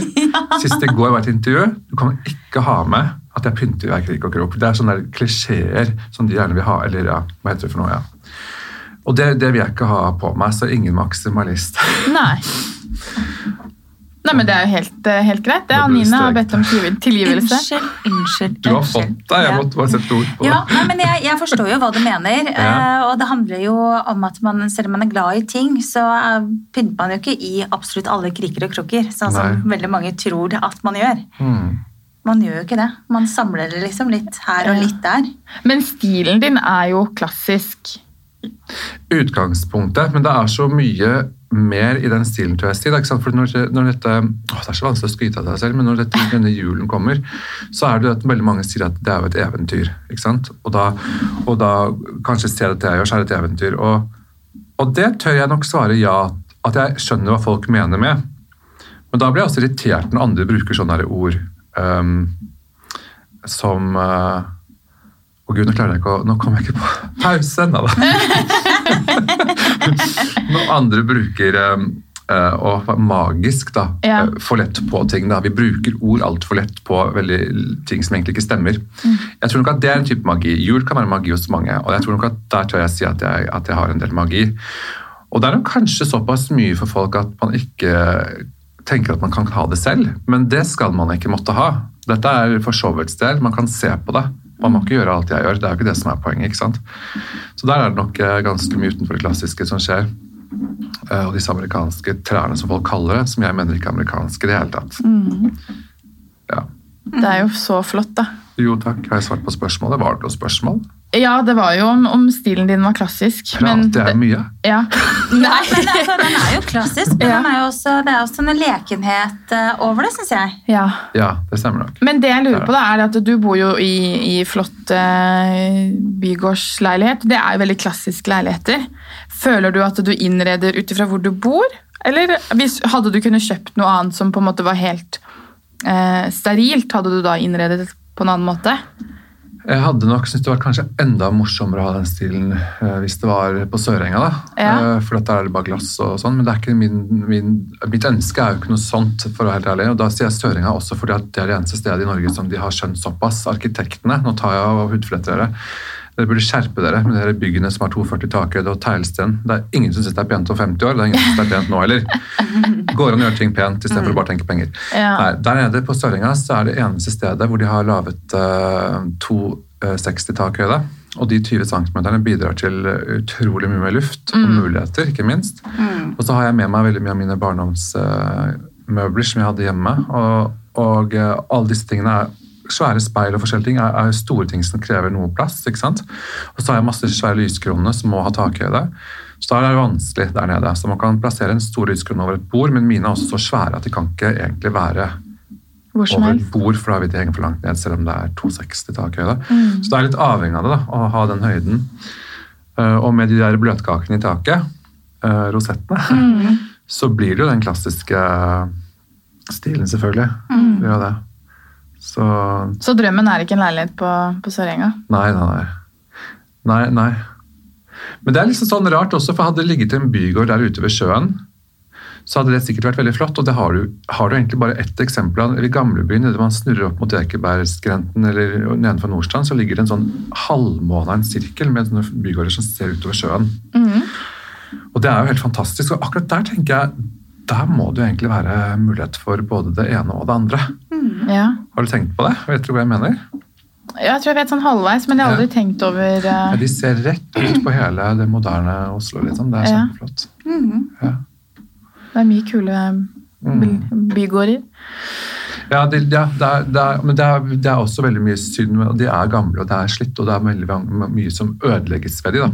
B: Sist i går var et intervju. Du kan ikke ha med at jeg pynter i hver krik og krok. Det er sånne der klisjeer som de gjerne vil ha. Eller ja, hva heter det for noe? ja. Og det, det vil jeg ikke ha på meg, så ingen maksimalist.
A: Nei. Nei, men det er jo helt, eh, helt greit. Det
B: Nå ble det
A: Anine har
B: strekt.
A: bedt om tilgiv- tilgivelse.
C: Unnskyld, unnskyld.
B: Du har
C: unnskyld.
B: fått deg, jeg
C: Ja.
B: måtte bare sette ord på det.
C: Ja, nei, men jeg, jeg forstår jo hva du mener.
B: Ja.
C: eh, Og det handler jo om at man, selv om man er glad i ting, så eh, pynter man jo ikke i absolutt alle kriker og krukker, sånn som veldig mange tror at man gjør.
B: Mm.
C: Man gjør jo ikke det. Man samler det liksom litt her og
A: Ja.
C: litt der.
A: Men stilen din er jo klassisk.
B: Utgangspunktet, men det er så mye mer i den stilen, tror jeg. Stig, da, ikke sant? For når, det- når dette, å, det er så vanskelig å skryte av seg selv, men når dette, denne julen kommer, så er det jo at veldig mange sier at det er jo et eventyr. ikke sant? Og da, og da kanskje ser at det jeg gjør, så er det et eventyr. Og, og det tør jeg nok svare ja, at jeg skjønner hva folk mener med. Men da blir jeg også irritert når andre bruker sånne her ord ehm, som eh, Å gud, nå klarer jeg ikke å Nå kom jeg ikke på Pause! Nei da. Når andre bruker eh, eh, og magisk da,
A: Ja.
B: eh, for lett på ting. Da. Vi bruker ord altfor lett på veldig, ting som egentlig ikke stemmer. Jeg tror nok at det er en type magi. Jul kan være magi hos mange, og jeg tror nok at der tør jeg si at jeg, at jeg har en del magi. Og det er nok kanskje såpass mye for folk at man ikke tenker at man kan ha det selv, men det skal man ikke måtte ha. Dette er for så vidt del, man kan se på det. Man må ikke gjøre alt jeg gjør, det er jo ikke det som er poenget. ikke sant? Så der er det nok eh, ganske mye utenfor det klassiske som skjer. Eh, Og disse amerikanske trærne som folk kaller det, som jeg mener ikke er amerikanske i det hele tatt.
C: Mm.
B: Ja.
A: Det er jo så flott, da.
B: Jo takk, har jeg svart på spørsmålet? Var det noe spørsmål?
A: Ja, det var jo om, om stilen din var klassisk. Men
B: Prater jeg mye?
A: ja.
C: Ja, men det, altså, den er jo klassisk, men
A: Ja.
C: den er jo også, det er også en lekenhet eh, over det, syns jeg.
A: ja.
B: Ja, det stemmer nok.
A: Men det jeg lurer på, da, er at du bor jo i, i flott eh, bygårdsleilighet. Det er jo veldig klassiske leiligheter. Føler du at du innreder ut ifra hvor du bor? Eller hvis, hadde du kunnet kjøpt noe annet som på en måte var helt eh, sterilt? Hadde du da innredet på en annen måte?
B: Jeg hadde nok syntes det var kanskje enda morsommere å ha den stilen eh, hvis det var på Sørenga. da.
A: Ja.
B: Eh, for at der er det bare glass og sånn, men det er ikke min, min, mitt ønske er jo ikke noe sånt. for å være helt ærlig. Og Da sier jeg Sørenga også fordi at det er det eneste stedet i Norge som de har skjønt såpass. Arkitektene nå tar jeg av hudfletter dere. Dere burde skjerpe dere med dere byggene som har 240 takhøyde og teglsten. Det er ingen som syns det er pent om 50 år. Det er ingen som syns det er pent nå heller. Går an å gjøre ting pent istedenfor å bare tenke penger.
A: Ja.
B: Nei, der nede på Sørenga så er det eneste stedet hvor de har laget eh, to eh, 60 takhøyde. Og de 20 cm bidrar til eh, utrolig mye mer luft og muligheter, ikke minst. Og så har jeg med meg veldig mye av mine barndomsmøbler som jeg hadde hjemme. Og, og eh, alle disse tingene er svære speil og forskjellige ting er, er store ting som krever noe plass. ikke sant? Og så har jeg masse svære lyskroner som må ha takhøyde. Så da er det vanskelig der nede. Så man kan plassere en stor lyskrone over et bord, men mine er også så svære at de kan ikke egentlig være
A: Hvor som
B: over et
A: helst.
B: bord, for da vil de henge for langt ned, selv om det er 260 takhøyde. Så det er litt avhengig av det, da, å ha den høyden. Eh, Og med de der bløtkakene i taket, eh, rosettene,
C: Mm.
B: så blir det jo den klassiske stilen, selvfølgelig. Det Gjør jo det. Så nei,
A: Så drømmen er ikke en leilighet på, på Sørenga?
B: nei, nei. Nei, nei. Men det er liksom sånn rart også, for hadde det ligget en bygård der ute ved sjøen, så hadde det sikkert vært veldig flott, og det har du, har du egentlig bare ett eksempel av. I gamlebyen, når man snurrer opp mot Ekebergsgrenten eller nedenfor Nordstrand, så ligger det en sånn halvmåne av en sirkel med sånne bygårder som ser utover sjøen. Og det er jo helt fantastisk. Og akkurat der tenker jeg, der må det jo egentlig være mulighet for både det ene og det andre.
C: Mm.
A: Ja.
B: Har du tenkt på det? Vet du hva jeg mener?
A: Jeg tror jeg vet sånn halvveis, men jeg har aldri tenkt over
B: Ja,
A: eh,
B: de ser rett ut på hele det moderne Oslo, liksom. Det er
A: Ja.
B: kjempeflott.
C: Mhm.
B: Ja. Mm.
A: Det er mye kule by, bygårder.
B: Ja, det, ja, det er, det er, men det er, det er også veldig mye synd. med- De er gamle, og det er slitt, og det er veldig mange- mye som ødelegges ved de, da.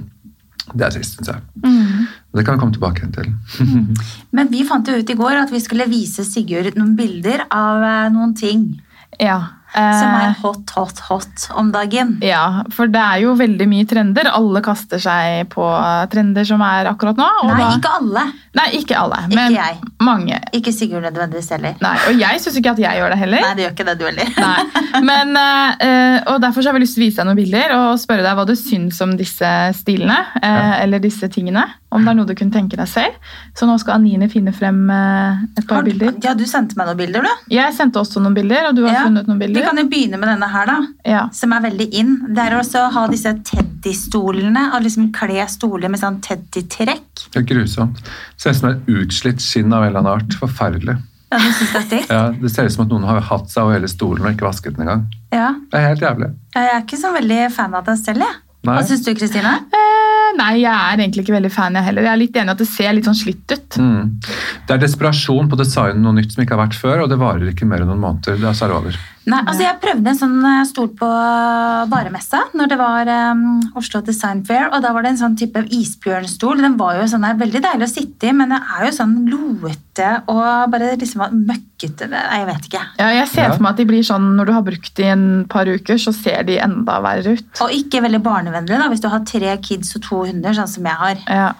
B: Det er trist, syns jeg.
A: Mm.
B: Men Det kan vi komme tilbake igjen til.
C: Men vi fant jo ut i går at vi skulle vise Sigurd noen bilder av eh, noen ting
A: Ja.
C: som
A: Eh,
C: er hot, hot, hot om dagen.
A: Ja, for det er jo veldig mye trender. Alle kaster seg på eh, trender som er akkurat nå. Og
C: Nei,
A: da,
C: ikke alle.
A: nei, ikke alle, men
C: Ikke jeg.
A: mange.
C: Ikke Sigurd nødvendigvis heller.
A: Nei, og jeg syns ikke at jeg gjør det heller.
C: Nei, det gjør ikke det du heller.
A: Nei. Men, eh, eh, og Derfor så har vi lyst til å vise deg noen bilder og spørre deg hva du syns om disse stilene. eh, Eller disse tingene. Om det er noe du kunne tenke deg selv. Så nå skal Anine finne frem eh, et par
C: Har du-
A: bilder.
C: Ja, du sendte meg noen bilder, du.
A: Jeg sendte også noen bilder, og du har
C: Ja.
A: funnet noen
C: Vi
A: bilder.
C: kan jo begynne med denne her, da.
A: Ja.
C: Som er veldig in. Det er også å ha disse teddystolene og liksom kle stoler med sånn teddytrekk.
B: Det er grusomt. Ser ut som et utslitt skinn av en eller annen art. Forferdelig.
C: Ja, du synes det er digg?
B: Ja, det ser ut som at noen har hatt seg over hele stolen og ikke vasket den engang.
C: Ja.
B: Det er helt jævlig.
C: Ja, Jeg er ikke så veldig fan av det selv, jeg.
B: Nei.
C: Hva syns du, Kristine?
A: Eh, Nei, jeg er egentlig ikke veldig fan, jeg heller. Jeg er litt enig i at det ser litt sånn slitt ut.
B: Mm. Det er desperasjon på å designe noe nytt som ikke har vært før, og det varer ikke mer enn noen måneder. Det er så er det over.
C: Nei, altså Jeg prøvde en sånn eh, stol på varemessa når det var eh, Oslo Design Fair. og Da var det en sånn type isbjørnstol. Den var jo sånn der, veldig deilig å sitte i, men den er jo sånn loete og bare liksom var møkkete. Nei, Jeg vet ikke.
A: Ja, jeg ser
B: Ja.
A: for meg at de blir sånn når du har brukt de en par uker, så ser de enda verre ut.
C: Og ikke veldig barnevennlig da, hvis du har tre kids og to hunder, sånn som jeg har.
A: Ja.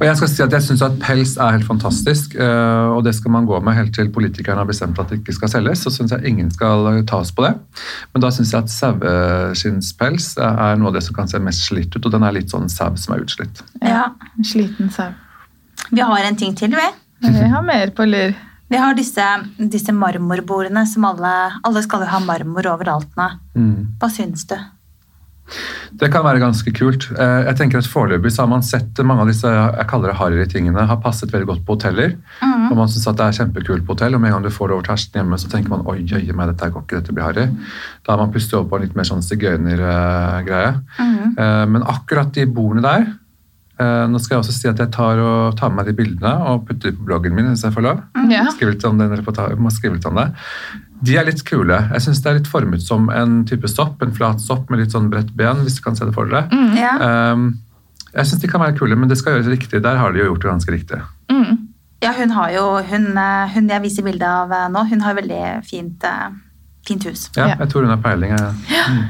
B: Og jeg skal si at jeg syns at pels er helt fantastisk, eh, og det skal man gå med helt til politikerne har bestemt at det ikke skal selges. Så syns jeg ingen skal eh, tas på det. Men da syns jeg at saueskinnspels er noe av det som kan se mest slitt ut, og den er litt sånn sau som er utslitt.
C: Ja.
A: En sliten sau.
C: Vi har en ting til, vi.
A: Men Vi har mer på lur.
C: Vi har disse, disse marmorbordene som alle Alle skal jo ha marmor overalt nå.
B: Mm.
C: Hva syns du?
B: Det kan være ganske kult. Eh, Jeg tenker at Foreløpig så har man sett mange av disse jeg kaller det harry-tingene har passet veldig godt på hoteller.
C: Mm,
B: Og man syns det er kjempekult på hotell, og med en gang du får det over terskelen hjemme, så tenker man oi, jøye meg, dette her går ikke, dette blir harry. Da har man pustet over på en litt mer sånn sigøynergreie.
C: mm,
B: Eh, Men akkurat de bordene der eh, Nå skal jeg også si at jeg tar, og, tar med meg de bildene og putter de på bloggen min hvis jeg får lov.
C: mm.
A: Ja.
B: Skrive litt om den reporta- må skrive litt om det. De er litt kule. Jeg syns det er litt formet som en type sopp, en flat sopp med litt sånn bredt ben, hvis du kan se det for dere.
A: Mm.
C: Ja.
B: Um, jeg syns de kan være kule, men det skal gjøres riktig. Der har de jo gjort det ganske riktig.
A: Mm.
C: ja, hun har jo Hun, eh, hun jeg viser bilde av eh, nå, hun har veldig fint, eh, fint hus.
B: Ja,
A: Ja.
B: Jeg tror hun har peiling. jeg.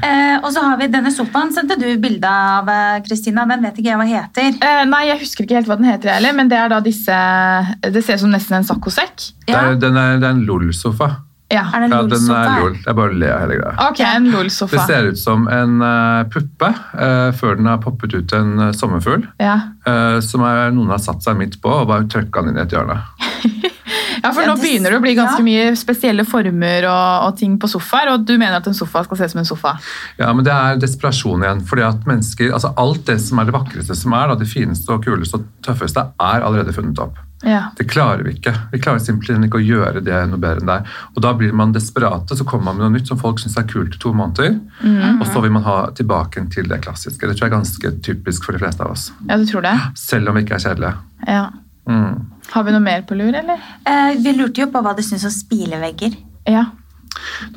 C: Eh, og så har vi denne sofaen. Sendte du bilde av, eh, Kristina? Den vet ikke jeg hva heter.
A: Eh, nei, jeg husker ikke helt hva den heter, jeg heller, men det er da disse Det ser ut som nesten en saccosekk.
B: Det,
C: Ja.
B: er, den er, det er en LOL-sofa.
A: Ja.
C: Er det en
B: Ja, den er
C: lolsofa?
B: LOL. Jeg bare ler av hele greia.
A: Ok, en
B: Det
A: LOL-sofa.
B: ser ut som en eh, puppe eh, før den har poppet ut en eh, sommerfugl.
A: Ja.
B: eh, som er, noen har satt seg midt på og bare trøkka den inn i et hjørne.
A: ja, for
C: Ja,
A: nå
C: det-
A: begynner det å bli ganske
C: ja.
A: mye spesielle former og, og ting på sofaer, og du mener at en sofa skal se ut som en sofa.
B: Ja, men Det er desperasjon igjen. fordi at mennesker, altså Alt det som er det vakreste som er, da, det fineste og kuleste og tøffeste, er allerede funnet opp.
A: Ja.
B: Det klarer vi ikke. Vi klarer simpelthen ikke å gjøre det noe bedre enn det er. Og da blir man desperate, så kommer man med noe nytt som folk syns er kult i to måneder. Og så vil man ha tilbake til det klassiske. Det tror jeg er ganske typisk for de fleste av oss.
A: ja, du tror det?
B: Selv om vi ikke er kjedelige.
A: Ja.
B: Mm.
A: Har vi noe mer på lur, eller?
C: Eh, vi lurte jo på hva du syns om spilevegger.
A: Ja.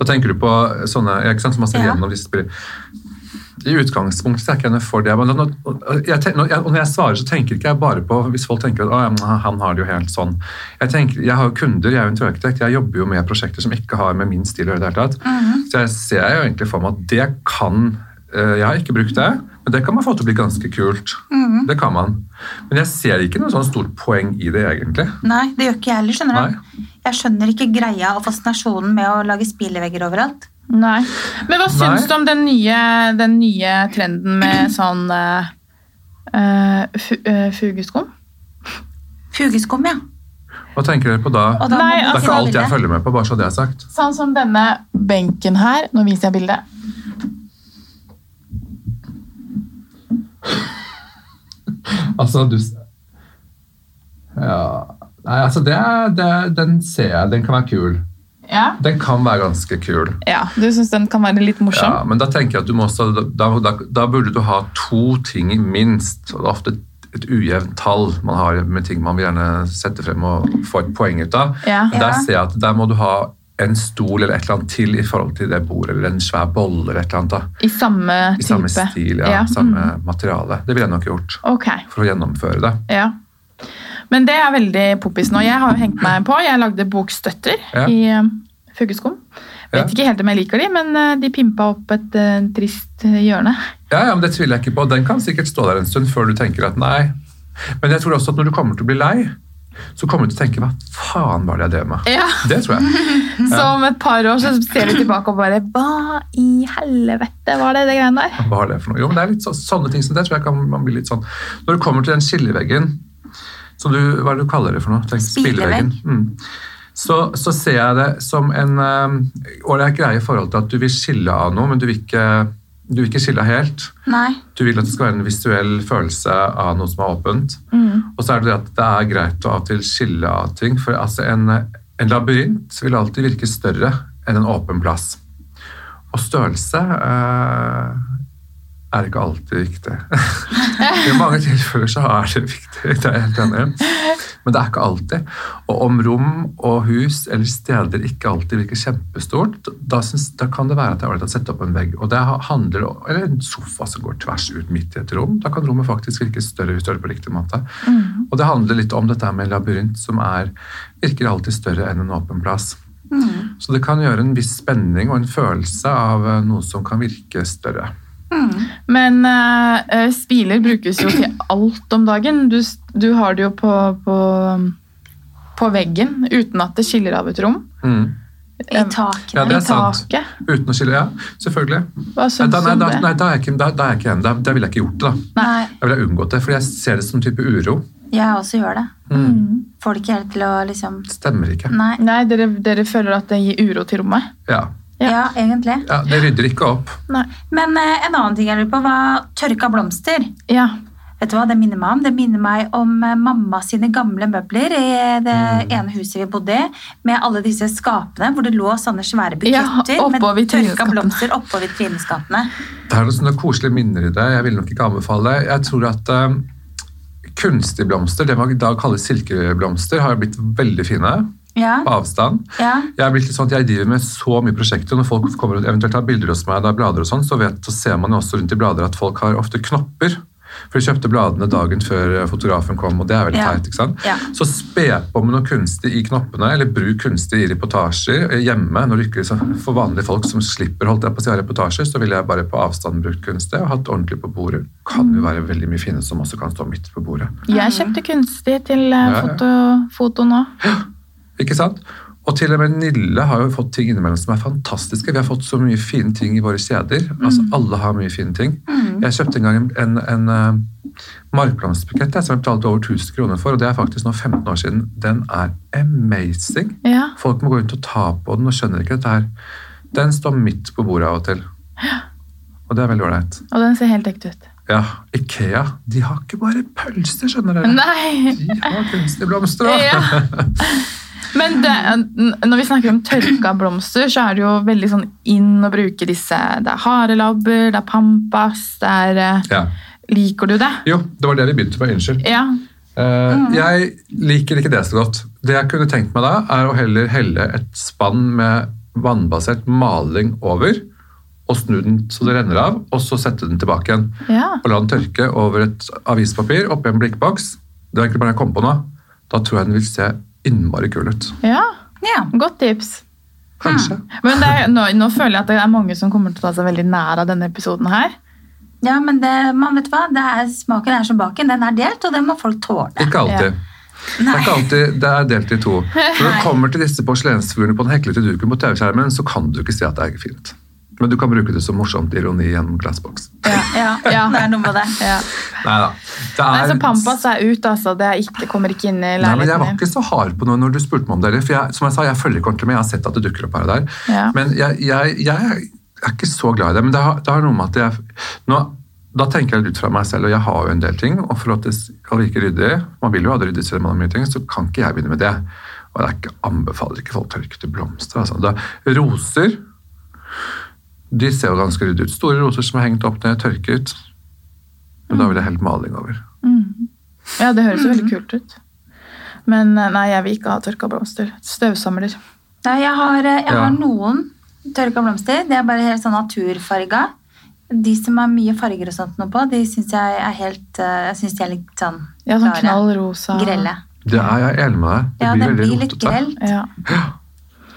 B: Da tenker du på sånne ja, ikke sant, som man ser
C: Ja.
B: gjennom disse spillene. I utgangspunktet er ikke jeg noe for det. Men nå, jeg, ten- når jeg, og når jeg svarer, så tenker ikke jeg bare på hvis folk tenker at «Å, ja, men han har det jo helt sånn. Jeg, tenker, jeg har jo kunder, jeg er jo interiørarkitekt, jeg jobber jo med prosjekter som ikke har med min stil å gjøre. i det hele tatt. Så jeg ser jo egentlig for meg at det kan eh, Jeg har ikke brukt det, men det kan man få til å bli ganske kult.
C: Mhm. Mm.
B: Det kan man. Men jeg ser ikke noe sånn stort poeng i det, egentlig.
C: Nei, det gjør ikke jeg heller, skjønner du. Jeg skjønner ikke greia og fascinasjonen med å lage spilevegger overalt.
A: Nei. Men hva
B: Nei.
A: syns du om den nye, den nye trenden med sånn eh, eh, fu- eh, fugeskum?
C: Fugeskum, ja.
B: Hva tenker dere på da?
C: Og da
A: Nei,
B: Det
C: må
B: er
C: man
A: altså-
B: ikke
C: finne
B: alt jeg
C: bildet.
B: følger med på, bare så det er sagt.
A: Sånn som denne benken her. Nå viser jeg bildet.
B: Altså, du Ja Nei, altså, det er, det er, den ser jeg. Den kan være kul.
A: Ja.
B: Den kan være ganske kul.
A: ja du syns den kan være litt morsom?
B: Ja, men da tenker jeg at du må også, da, da, da burde du ha to ting minst. og Det er ofte et, et ujevnt tall man har med ting man vil gjerne sette frem og få et poeng ut av.
A: Ja.
B: Men Der
C: Ja.
B: ser jeg at der må du ha en stol eller et eller annet til i forhold til det bordet, eller en svær bolle eller et eller annet. da.
A: I samme
B: I
A: type?
B: samme stil, ja.
A: Ja,
B: Samme
A: mm.
B: materiale. Det ville jeg nok gjort
A: Ok,
B: for å gjennomføre det.
A: ja. Men det er veldig poppis nå. Jeg har jo hengt meg på. Jeg lagde bokstøtter
B: Ja.
A: i eh, fugeskum. Vet
B: Ja.
A: ikke helt om jeg liker de, men eh, de pimpa opp et eh, trist hjørne.
B: Ja, ja, men Det tviler jeg ikke på. Den kan sikkert stå der en stund før du tenker at nei. Men jeg tror også at når du kommer til å bli lei, så kommer du til å tenke hva faen var det jeg drev med?
A: Ja.
B: Det tror jeg.
A: Så om et par år så ser vi tilbake og bare Hva i helvete var det, det greiene der?
B: Hva var det for noe? Jo, men det er litt så, sånne ting som det tror jeg kan man bli litt sånn. Når du kommer til den skilleveggen, så du, hva er det du kaller det for noe? Tenk,
C: Spillevegg.
B: spilleveggen. Mm. Så, så ser jeg det som en um, ålreit greie i forhold til at du vil skille av noe, men du vil ikke, du vil ikke skille helt.
C: Nei.
B: Du vil at det skal være en visuell følelse av noe som er åpent. Og så er det det at det er greit å av og til skille av ting. For altså en, en labyrint vil alltid virke større enn en åpen plass. Og størrelse eh, er ikke alltid viktig. I mange tilfeller så er det viktig, det er jeg helt enig i. Men det er ikke alltid. Og om rom og hus eller steder ikke alltid virker kjempestort, da, syns- da kan det være at det er ålreit å sette opp en vegg. Og det handler om, Eller en sofa som går tvers ut midt i et rom. Da kan rommet faktisk virke større hvis du gjør det på riktig måte. Og det handler litt om dette her med labyrint, som er, virker alltid større enn en åpen plass.
C: Mm.
B: Så det kan gjøre en viss spenning og en følelse av eh, noe som kan virke større.
C: Mm.
A: Men eh, eh, spiler brukes jo til alt om dagen. Du, s- du har det jo på, på, på veggen uten at det skiller av et rom.
B: Mm.
C: I taket.
B: Ja, det er
A: I
B: sant.
A: taket.
B: Uten å skille, ja. Selvfølgelig.
A: Hva
B: Nei,
A: syns du
B: da, nei,
A: om
B: da,
A: det?
B: nei, da er jeg ikke, da, da er jeg ikke enig. Da, da ville jeg ikke gjort det. da.
C: Nei.
B: Jeg ville unngått det, for jeg ser det som en type uro.
C: Jeg også gjør det.
B: Mm.
C: Får det ikke helt til å liksom
B: Stemmer ikke.
C: Nei.
A: Nei, dere, dere føler at det gir uro til rommet?
B: Ja.
A: Ja.
C: Ja, egentlig.
B: ja, Det rydder ikke opp.
A: Nei.
C: Men eh, en annen ting jeg lurer på, var tørka blomster.
A: Ja.
C: Vet du hva det minner meg om? Det minner meg om eh, mamma sine gamle møbler i eh, det
A: Mm.
C: ene huset vi bodde i, med alle disse skapene hvor det lå sånne svære
A: Ja,
C: buketter med
A: oppå
C: tørka
A: vitrineskapene.
C: blomster oppå vitrineskapene.
B: Det er noen sånne koselige minner i det. Jeg vil nok ikke anbefale. Jeg tror at eh, kunstige blomster, det man i dag kaller silkeblomster, har blitt veldig fine
C: Ja,
B: på avstand.
C: ja.
B: Jeg er blitt litt sånn at jeg driver med så mye prosjekter, og når folk kommer og eventuelt har bilder hos meg, det er blader og sånn, så, vet, så ser man jo også rundt i blader at folk har ofte knopper. For de kjøpte bladene dagen før eh, fotografen kom, og det er veldig
C: Ja.
B: teit. ikke sant?
C: Ja.
B: Så spe på med noe kunstig i knoppene, eller bruk kunstig i reportasjer eh, hjemme. når du ikke, så For vanlige folk som slipper holdt jeg på å si ha reportasjer, så ville jeg bare på avstand brukt kunstig og hatt ordentlig på bordet. Kan jo være veldig mye fine som også kan stå midt på bordet.
A: Jeg kjøpte kunstig til eh,
B: Ja, ja.
A: foto, foto nå.
B: Ikke sant? Og til og med Nille har jo fått ting innimellom som er fantastiske. Vi har fått så mye fine ting i våre kjeder. Altså, Alle har mye fine ting. Jeg kjøpte en gang en, en, en eh, markplansbukett jeg, som jeg betalte over 1000 kroner for, og det er faktisk nå 15 år siden. Den er amazing.
A: Ja.
B: Folk må gå rundt og ta på den og skjønner ikke dette her. Den står midt på bordet av og til. Og det er veldig ålreit.
A: Og den ser helt ekte ut.
B: Ja, Ikea de har ikke bare pølser, skjønner dere.
A: Nei!
B: De har kunstige blomster òg.
A: Ja. Men det, n- når vi snakker om tørka blomster, så er det jo veldig sånn inn å bruke disse. Det er harelabber, det er pampas, det er eh,
B: Ja.
A: Liker du det?
B: Jo, det var det vi begynte med. Unnskyld.
A: Ja.
B: Eh,
A: Mm.
B: Jeg liker ikke det så godt. Det jeg kunne tenkt meg da, er å heller helle et spann med vannbasert maling over, og snu den så det renner av, og så sette den tilbake igjen.
A: ja.
B: Og la den tørke over et avispapir oppi en blikkboks. Det var egentlig bare jeg kom på nå. Da tror jeg den vil se innmari kul ut. Hmm.
A: Ja.
C: ja.
A: Godt tips.
B: Kanskje.
A: Men det er, nå, nå føler jeg at det er mange som kommer til å ta seg veldig nær av denne episoden her.
C: ja men det, man vet hva, det er, smaken er som baken. Den er delt, og den må folk tåle.
B: Ikke alltid. Det er
C: Nei.
B: ikke alltid, det er delt i to. Når det kommer til disse porselensfigurene på den heklete duken på TV-skjermen, så kan du ikke si at det er fint. Men du kan bruke det som morsomt ironi gjennom glassboks.
C: Ja, ja,
A: Ja.
C: det er noe med det. Ja.
B: Nei da. Det
A: Nei,
B: er-
A: så Pampas er ut, altså. Det er ikke, kommer ikke inn i
B: Nei, men Jeg var
A: leiligheten min.
B: ikke så hard på noe når du spurte meg om det. eller, For jeg, som jeg sa, jeg følger ikke ordentlig med. Jeg har sett at det dukker opp her og der.
A: Ja.
B: Men jeg, jeg, jeg er ikke så glad i det. Men det har, det har noe med at jeg nå, Da tenker jeg litt ut fra meg selv, og jeg har jo en del ting. Og for at det skal virke ryddig, man vil jo ha det ryddig selv om man har mye ting, så kan ikke jeg begynne med det. Og jeg ikke, anbefaler ikke folk tørkede blomster. Altså. Da, roser de ser jo ganske ryddig ut. Store roser som er hengt opp ned, tørket. Men da vil jeg helt maling over.
A: Mm. Ja, det høres jo
C: Mm.
A: veldig kult ut. Men eh, nei, jeg vil ikke ha tørka blomster. Støvsamler.
C: Nei, jeg har, eh, jeg
B: Ja.
C: har noen tørka blomster. Det er bare helt sånn naturfarga. De som er mye farger og sånt noe på, de syns jeg er helt eh, Jeg synes de er litt sånn
A: Ja, sånn
C: klare.
A: knall rosa.
C: Grelle.
B: Det er jeg enig med deg. Det
C: Ja,
B: blir veldig
C: den blir litt
B: rotete.
C: grell.
A: Ja.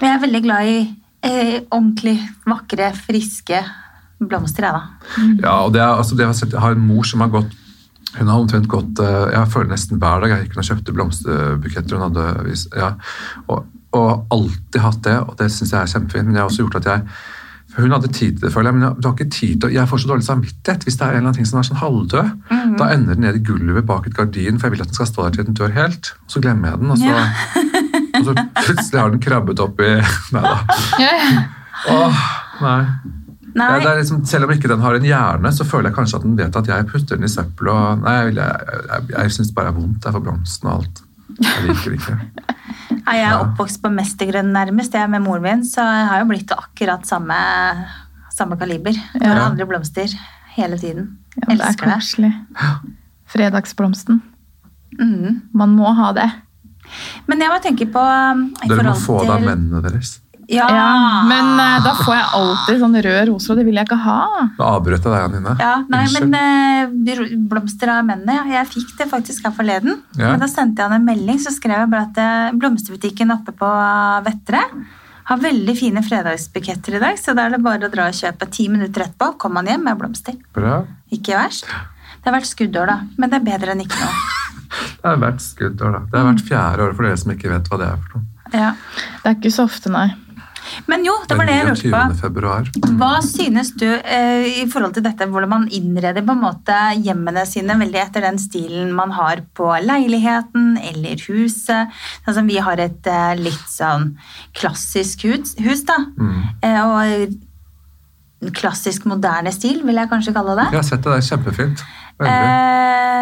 C: Men jeg er veldig glad i eh, ordentlig vakre, friske blomster, jeg, da.
B: Ja, og det er, altså, det jeg, har sett, jeg har en mor som har gått hun har omtrent gått eh, Jeg føler nesten hver dag jeg gikk og kjøpte blomsterbuketter. Hun hadde, vis- ja, og, og alltid hatt det, og det syns jeg er kjempefint. Men jeg har også gjort at jeg for Hun hadde tid til det, føler jeg, men jeg, du har ikke tid til å- Jeg får så dårlig samvittighet hvis det er en eller annen ting som er sånn halvdød. Da ender den ned i gulvet bak et gardin, for jeg vil at den skal stå der til den dør helt. Og så glemmer jeg den, og så,
C: Ja.
B: og så plutselig har den krabbet opp i Nei da. Åh, nei.
C: Nei,
B: Ja, det er liksom, selv om ikke den har en hjerne, så føler jeg kanskje at den vet at jeg putter den i søppel. Og, nei, jeg, vil- jeg, jeg, jeg syns bare det er vondt. Det er for blomsten og alt. Jeg liker det ikke.
C: Nei, jeg er
B: Ja.
C: oppvokst på mestergrønn nærmest, jeg er med moren min, så jeg har jo blitt akkurat samme, samme kaliber. Det er
B: Ja.
C: Andre blomster hele tiden.
A: Ja, det er
C: Elsker det.
A: koselig. Fredagsblomsten.
C: Mhm.
A: Man må ha det.
C: Men jeg må tenke på um, i
B: Dere må få
C: forhold
B: det av
C: til-
B: mennene deres.
C: Ja.
A: Ja, men eh, da får jeg alltid sånne røde roser, og det vil jeg ikke ha.
B: Nå avbrøt jeg deg, Anine.
C: Ja, nei,
B: Unnskyld.
C: men eh, ro- blomster av mennene. ja. Jeg fikk det faktisk her forleden.
B: Ja.
C: Men da sendte jeg han en melding, så skrev jeg bare at eh, blomsterbutikken oppe på uh, Vettre har veldig fine fredagsbuketter i dag, så da er det bare å dra og kjøpe. Ti minutter etterpå kom han hjem med blomster.
B: Bra.
C: Ikke verst. Det har vært skuddår, da. Men det er bedre enn ikke noe.
B: Det har vært skuddår, da. Det har vært fjerde år for dere som ikke vet hva det er for noe.
C: Ja.
A: Det er ikke så ofte, nei.
C: Men jo, det var det jeg lurte på.
B: 29. februar.
C: Hva synes du eh, i forhold til dette, hvordan man innreder på en måte hjemmene sine veldig etter den stilen man har på leiligheten eller huset? Sånn som vi har et eh, litt sånn klassisk hus, hus da.
B: Mm.
C: Eh, og en klassisk moderne stil, vil jeg kanskje kalle det.
B: Jeg har sett det, det er kjempefint. Veldig.
C: Eh,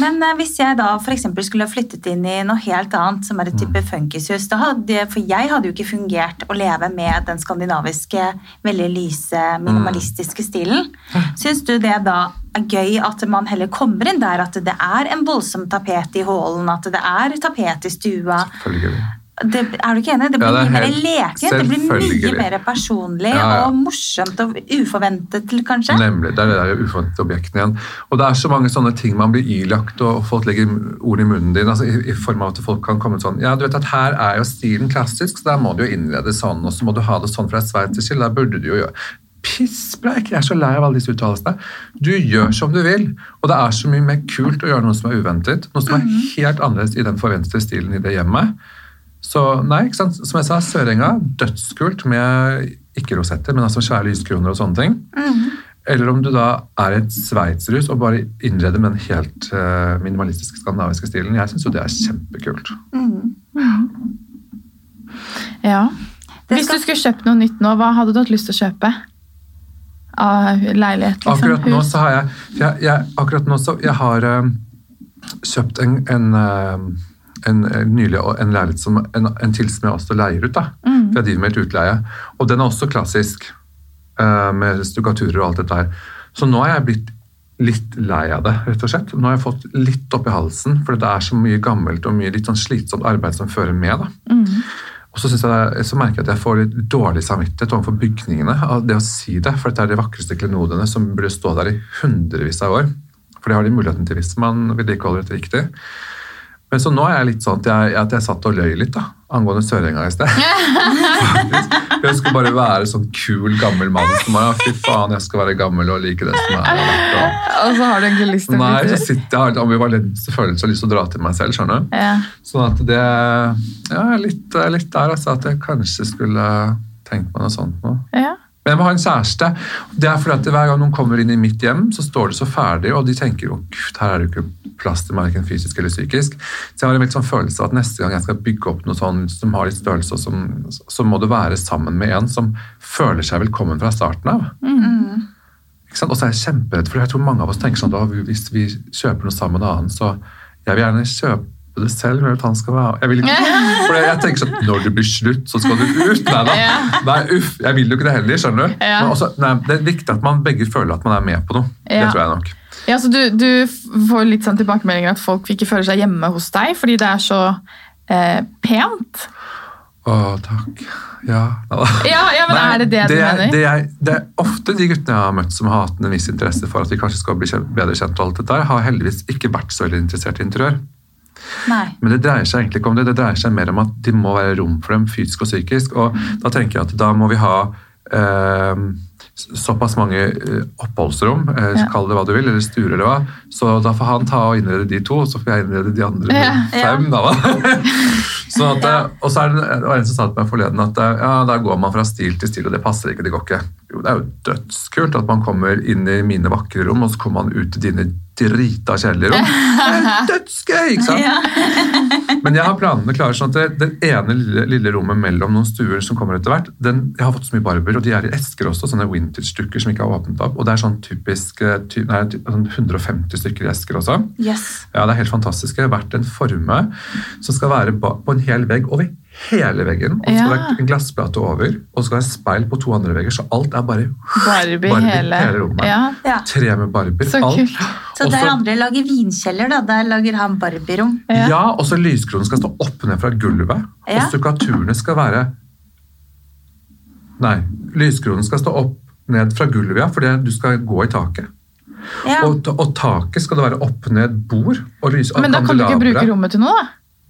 C: men eh, hvis jeg da for eksempel skulle ha flyttet inn i noe helt annet, som er et
B: Mm.
C: type funkishus da hadde, For jeg hadde jo ikke fungert å leve med den skandinaviske, veldig lyse,
B: Mm.
C: minimalistiske stilen. Syns du det da er gøy at man heller kommer inn der, at det er en voldsom tapet i hallen, at det er tapet i stua?
B: Følgelig.
C: Det, er du ikke enig? Det blir
B: Ja, det er
C: mye mer
B: helt
C: lekent, det blir mye
B: selvfølgelig.
C: mer personlig
B: Ja, ja.
C: og morsomt og uforventet, kanskje?
B: Nemlig. Det er det der uforventede objektene igjen. Og det er så mange sånne ting man blir ilagt, og folk legger ord i munnen din altså, i, i form av at folk kan komme sånn Ja, du vet at her er jo stilen klassisk, så der må du jo innlede sånn, og så må du ha det sånn fra sveitserskill, der burde du jo gjøre Pisspreik! Jeg er så lei av alle disse uttalelsene. Du gjør som du vil, og det er så mye mer kult å gjøre noe som er uventet, noe som er helt annerledes i den forventede stilen i det hjemmet. Så nei, ikke sant? som jeg sa, Sørenga, dødskult med ikke rosetter, men altså svære lyskroner og sånne ting.
C: Mm.
B: Eller om du da er et sveitserhus og bare innreder med den helt eh, minimalistiske skandinaviske stilen. Jeg syns jo det er kjempekult.
C: Mm.
A: Ja.
C: Det
A: Hvis
C: skal-
A: du skulle kjøpt noe nytt nå, hva hadde du hatt lyst til å kjøpe? Av leilighet, liksom?
B: Akkurat nå
A: Hus?
B: så har jeg, jeg, jeg, akkurat nå så, jeg har eh, kjøpt en, en, eh, en, en nylig en leilighet som en, en til som jeg også leier ut. da. For jeg driver med et utleie. Og den er også klassisk, eh, med stukkaturer og alt dette her. Så nå har jeg blitt litt lei av det, rett og slett. Nå har jeg fått litt opp i halsen, for det er så mye gammelt og mye litt sånn slitsomt arbeid som fører med. da. Og så, synes jeg, så merker jeg at jeg får litt dårlig samvittighet overfor bygningene av det å si det, for dette er de vakreste klenodene som burde stå der i hundrevis av år. For det har de muligheten til hvis man vedlikeholder dette riktig. Men så nå er jeg litt sånn at jeg, at jeg satt og løy litt da, angående Sørenga i sted. Faktisk. jeg skulle bare være sånn kul, gammel mann som bare, fy faen, jeg skal være gammel og like det som er. Og
A: Og så har du egentlig lyst til å
B: Nei,
A: bli
B: så sitter jeg og har en ambivalens følelse og lyst til å dra til meg selv, skjønner du?
A: Ja.
B: Sånn at det Ja, litt, litt der, altså. At jeg kanskje skulle tenkt meg noe sånt nå.
A: ja.
B: Men jeg må ha en kjæreste. Det er fordi at Hver gang noen kommer inn i mitt hjem, så står det så ferdig, og de tenker å gud, her er det jo ikke plass til verken fysisk eller psykisk. Så jeg har en veldig sånn følelse av at neste gang jeg skal bygge opp noe sånn som har litt størrelse, og som, så må det være sammen med en som føler seg velkommen fra starten av.
C: mm.
B: Ikke sant? Og så er jeg kjemperedd, for jeg tror mange av oss tenker sånn at hvis vi kjøper noe sammen med en annen, så jeg vil gjerne kjøpe det selv, men at han skal være jeg vil ikke, For jeg tenker sånn Når det blir slutt, så skal du ut! Nei da.
A: Ja.
B: Nei, uff, jeg vil jo ikke det heller, skjønner du.
A: Ja.
B: Men også, nei, det er viktig at man begge føler at man er med på noe.
A: Ja.
B: Det tror jeg nok.
A: Ja, så du, du f- får litt sånn tilbakemeldinger at folk ikke føler seg hjemme hos deg fordi det er så eh, pent.
B: Å, takk. Ja. Nei da.
A: Ja, ja men
B: Nei,
A: er det det, du
B: er-
A: mener?
B: Det er, det er ofte de guttene jeg har møtt som har hatt en viss interesse for at vi kanskje skal bli kjent, bedre kjent, og alt dette der, har heldigvis ikke vært så veldig interessert i interiør.
C: Nei.
B: Men det dreier seg egentlig ikke om det, det dreier seg mer om at de må være rom for dem fysisk og psykisk. Og
A: Mm.
B: da tenker jeg at da må vi ha eh, såpass mange eh, oppholdsrom, eh,
A: Ja.
B: kall det hva du vil, eller stuer eller hva. Så da får han ta og innrede de to, så får jeg innrede de andre
A: Ja.
B: fem. Da, hva? Sånn at, eh, og så er det det var en som sa til meg forleden at eh, ja, da går man fra stil til stil, og det passer ikke, det går ikke. Jo, det er jo dødskult at man kommer inn i mine vakre rom, og så kommer man ut i dine drita kjedelige rom. Det er dødsgøy! ikke sant?
C: Ja.
B: Men jeg har planene klare sånn at det, den ene lille, lille rommet mellom noen stuer som kommer etter hvert, den, jeg har fått så mye barber, og de er i esker også, sånne vintage-stykker som ikke er åpnet opp, og det er sånn typisk, eh, ty, nei, ty, sånn 150 stykker i esker også.
C: Yes.
B: Ja, det er helt fantastisk. Det har vært en forme som skal være ba- på en hel vegg over hele veggen, og det skal
A: Ja.
B: være en glassplate over, og det skal være speil på to andre vegger, så alt er bare
A: Barbie,
B: Barbie,
A: hele,
B: hele rommet.
A: Ja.
C: Ja.
B: tre med barber.
A: Så
B: alt.
A: kult.
C: Så
B: Og
C: der andre lager vinkjeller, da. Der lager han barbierom.
A: Ja.
B: Ja, og så lyskronen skal stå opp ned fra gulvet.
C: Ja.
B: Og stukkaturene skal være Nei, lyskronen skal stå opp ned fra gulvet, ja, fordi du skal gå i taket.
C: Ja.
B: Og, ta- og taket skal det være opp ned bord og lys og
A: Men da kan du ikke
B: kandelabre.
A: bruke rommet til noe, da?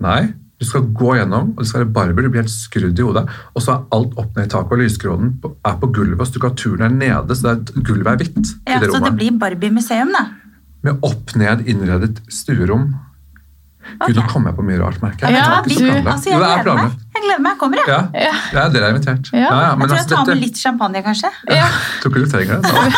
B: Nei, du skal gå gjennom, og det skal være barber, du blir helt skrudd i hodet. Og så er alt opp ned i taket, og lyskronen på- er på gulvet, og stukkaturen er nede, så det er, gulvet er hvitt
C: Ja,
B: i det
C: så det
B: rommet.
C: blir Barbie-museum, da.
B: Med opp ned innredet stuerom. Gud, nå kom jeg på mye rart, merker jeg.
A: Ja,
B: Det var ikke så
A: du-
B: planlagt.
C: Altså,
B: Jo,
C: jeg
B: det er
C: gleder meg.
B: planlagt.
C: Jeg gleder meg. Jeg kommer, jeg.
B: Ja,
A: Ja.
B: ja dere er invitert.
A: Ja.
B: men
C: Jeg tror jeg
B: altså,
C: tar med
B: dette-
C: litt champagne, kanskje.
A: Ja.
B: Tror ikke du trenger det. Da.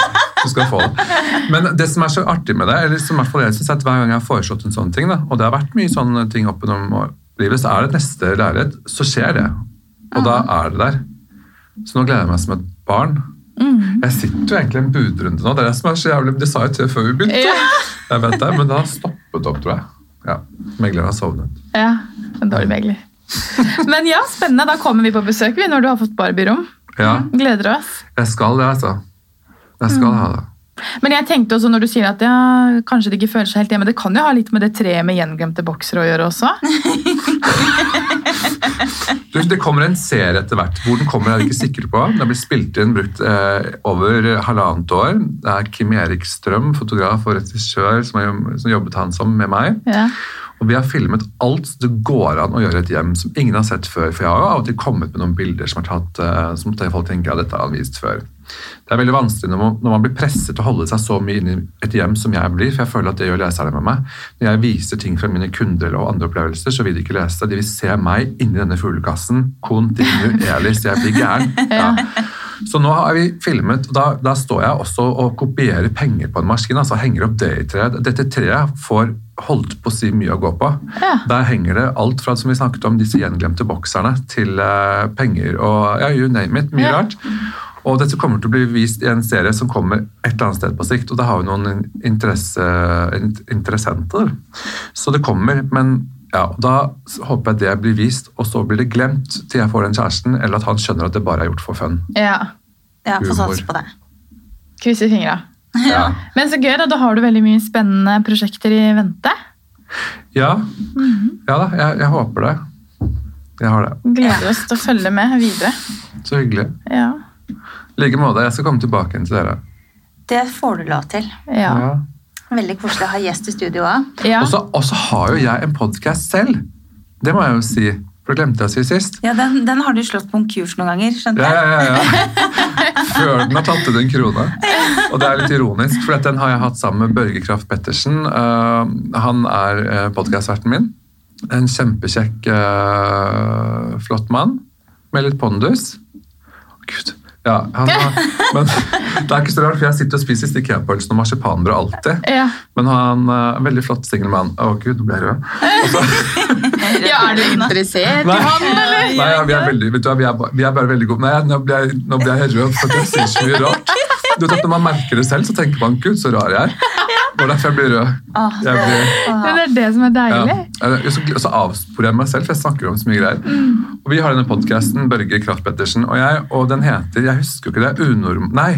B: Du skal få det. Men det som er så artig med det, eller som i hvert fall jeg synes, er at hver gang jeg har foreslått en sånn ting, da, og det har vært mye sånne ting opp gjennom livet, så er det neste leilighet, så skjer det. Og da er det der. Så nå gleder jeg meg som et barn.
C: Mm.
B: Jeg sitter jo egentlig i en budrunde nå. Det er det som er så jævlig, det sa jeg til før vi begynte.
A: Ja.
B: Jeg vet det, men det har stoppet opp, tror jeg. Ja, Megleren har sovnet.
A: ja. En dårlig megler. Men ja, spennende. Da kommer vi på besøk vi, når du har fått Barbie-rom.
B: Ja,
A: Gleder oss.
B: jeg skal det, altså. Jeg
C: Mm.
B: skal ha det.
A: Men jeg tenkte også når du sier at ja, kanskje de ikke føler seg helt hjemme, det kan jo ha litt med det treet med gjenglemte boksere å gjøre også.
B: Du, det kommer en serie etter hvert. Hvor den kommer, er vi ikke sikre på. Den blir spilt inn brukt eh, over halvannet år. Det er Kim Erik Strøm, fotograf og regissør, som, har- som jobbet han som med meg.
A: Ja.
B: Og vi har filmet alt det går an å gjøre i et hjem som ingen har sett før. For jeg har jo av og til kommet med noen bilder som, har tatt, eh, som folk tenker at dette har han vist før. Det er veldig vanskelig når man, når man blir presset til å holde seg så mye inne i et hjem som jeg blir, for jeg føler at det gjør leserne med meg. Når jeg viser ting fra mine kunder og andre opplevelser, så vil de ikke lese. De vil se meg inni denne fuglekassen kontinuerlig, så jeg blir gæren. Ja. Så nå har vi filmet, og da, da står jeg også og kopierer penger på en maskin, altså henger opp det i treet. Dette treet får holdt på å si mye å gå på.
A: Ja.
B: Der henger det alt fra som vi snakket om, disse gjenglemte bokserne, til eh, penger og ja, you name it, mye
A: Ja.
B: rart. Og dette kommer til å bli vist i en serie som kommer et eller annet sted på sikt, og da har vi noen in- interesse, in- interessenter. Så det kommer, men ja, da håper jeg det blir vist, og så blir det glemt til jeg får den kjæresten, eller at han skjønner at det bare er gjort for fun.
A: ja.
C: Ja, få
B: Humor.
C: sats på det.
A: Krysser fingra.
B: Ja.
A: Men så gøy, da. Da har du veldig mye spennende prosjekter i vente.
B: Ja, ja da, jeg, jeg håper det. Jeg har det.
A: Gleder oss til å følge med videre.
B: Så hyggelig.
A: Ja.
B: I like måte. Jeg skal komme tilbake igjen til dere.
C: Det får du lov til.
A: Ja.
B: Ja.
C: Veldig koselig å ha gjest i studio òg.
A: ja.
B: Og så og så har jo jeg en podkast selv. Det må jeg jo si, for det glemte jeg å si sist.
C: Ja, den, den har du slått konkurs noen ganger, skjønte
B: Ja,
C: jeg.
B: ja, ja, ja. Før den har tatt ut en krone. Og det er litt ironisk, for at den har jeg hatt sammen med Børge Kraft Pettersen. Eh, han er uh, podkastverten min. En kjempekjekk, eh, flott mann med litt pondus. Å, Gud, Ja, han har, men Det er ikke så rart, for jeg sitter og spiser Stig Kjæpølsen og marsipanbrød alltid.
A: Ja.
B: Men han er en veldig flott singel mann. Å gud, nå ble jeg rød.
A: ja, er du interessert i han, eller?
B: Nei, ja, vi, er veldig, vet du, hva, vi, er, ba- vi er bare veldig gode. Nei, nå ble jeg, nå ble jeg rød, for jeg sier så mye rart. Du vet at Når man merker det selv, så tenker man gud, så rar jeg er. Det var derfor jeg blir rød.
C: Åh,
B: Jeg blir...
A: Men det er det som er deilig.
B: Ja. Jeg- jeg- Så, så avsporer jeg meg selv, for jeg snakker om så mye greier.
A: Mm.
B: Og Vi har denne podkasten, Børge Kraft Pettersen og jeg, og den heter Jeg husker jo ikke det. Unorm... Nei.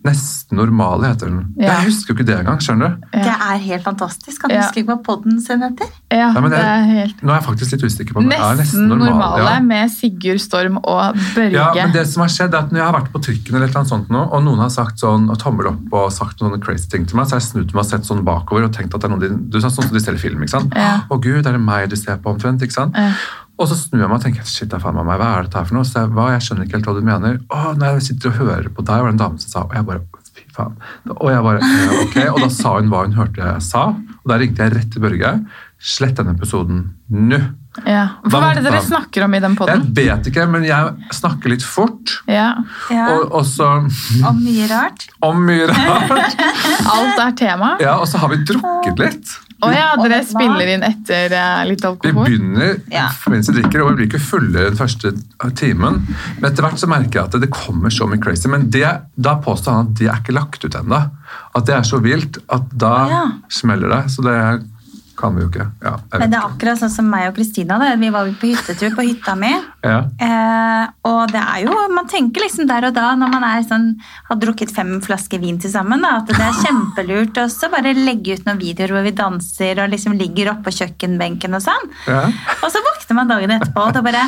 B: Nesten normale heter den.
A: Ja.
B: Jeg husker jo ikke det engang. skjønner du?
C: Det er helt fantastisk. Han
A: Ja.
C: husker ikke hva podden sin heter.
A: Ja,
B: Nei, men
A: det
B: jeg-
A: er helt
B: Nå er jeg faktisk litt usikker på om det er
A: Nesten normale
B: ja.
A: med Sigurd Storm og Børge.
B: Ja, men det som har skjedd er at Når jeg har vært på trykken, eller et eller annet sånt nå, og noen har sagt sånn, og tommel opp og sagt noen crazy ting til meg, så har jeg snudd meg og sett sånn bakover og tenkt at det er noen de, du sa sånn som de ser i film. ikke sant?
A: Ja.
B: Å gud, er det meg de ser på omtrent? ikke sant?
A: Ja.
B: Og så snur jeg meg og tenker shit, det er faen meg meg, hva er dette her for noe? Så jeg, hva, jeg skjønner ikke helt hva du mener. Å, når jeg sitter og hører på deg, var det en dame som sa Og jeg bare fy faen. Og jeg bare, «Eh, ok. Og da sa hun hva hun hørte jeg sa, og da ringte jeg rett til Børge. Slett denne episoden nå.
A: Ja. For hva er det dere snakker om i den
B: Jeg
A: podden?
B: vet ikke, men jeg snakker litt fort.
A: Ja.
C: Ja,
B: Og, og så
C: Og mye rart.
B: om mye rart.
A: Alt er tema.
B: Ja, og så har vi drukket litt.
A: Å ja,
C: Og
A: dere
C: vet du hva?
A: spiller inn etter eh, litt
B: Vi
A: alkohol?
B: begynner
C: Ja.
B: mens vi drikker, og vi blir ikke fulle den første timen. Men etter hvert så merker jeg at det kommer så mye crazy. Men det, da påstår han at det er ikke lagt ut ennå. At det er så vilt at da
C: Ja.
B: smeller det. Så det kan vi jo ikke. Ja, jeg
C: Men
B: vet
C: det er
B: ikke.
C: akkurat sånn som meg og Kristina. det. Vi var jo på hyttetur på hytta mi.
B: Ja.
C: Eh, og det er jo, man tenker liksom der og da når man er sånn, har drukket fem flasker vin til sammen, da, at det er kjempelurt også bare legge ut noen videoer hvor vi danser og liksom ligger oppå kjøkkenbenken og sånn.
B: Ja.
C: Og så våkner man dagen etterpå og da bare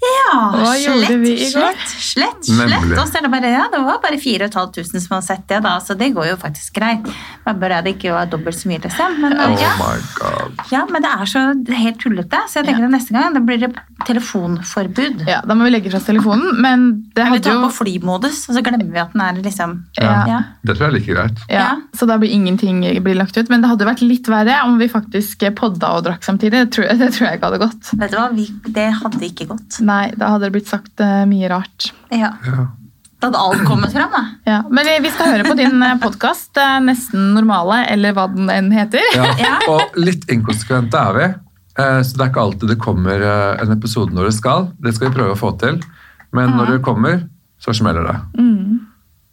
C: Ja,
A: Hva gjorde
C: slett,
A: vi i går?
C: slett, slett, slett.
B: Nemlig.
C: Og så er det bare Ja, det var bare 4500 som har sett det, da, så det går jo faktisk greit. Man bør det ikke være dobbelt så mye, liksom. Men, eh,
B: Oh
C: ja.
B: my god.
C: Ja, men det er så det er helt tullete, så jeg tenker at neste gang da blir det telefonforbud.
A: Ja, Da må vi legge fra oss telefonen, men det
C: Eller vi
A: hadde
C: tar den
A: jo
C: på flymodus, og så glemmer vi at den er liksom
A: Ja.
C: Ja.
B: Det tror jeg er like greit.
A: ja, Så da blir ingenting eh, blir lagt ut. Men det hadde vært litt verre om vi faktisk eh, podda og drakk samtidig. Det tror jeg, det tror jeg ikke hadde gått.
C: Vet du hva, vi, det hadde ikke gått.
A: Nei, da hadde det blitt sagt eh, mye rart.
C: Ja.
B: Ja.
C: Da hadde alt kommet fram, da.
A: Ja, Men vi- vi skal høre på din podkast, 'Nesten normale', eller hva den enn heter.
B: Ja.
C: Ja.
B: Og litt inkonsekvente er vi, eh, så det er ikke alltid det kommer eh, en episode når det skal. Det skal vi prøve å få til, men når det kommer, så smeller det.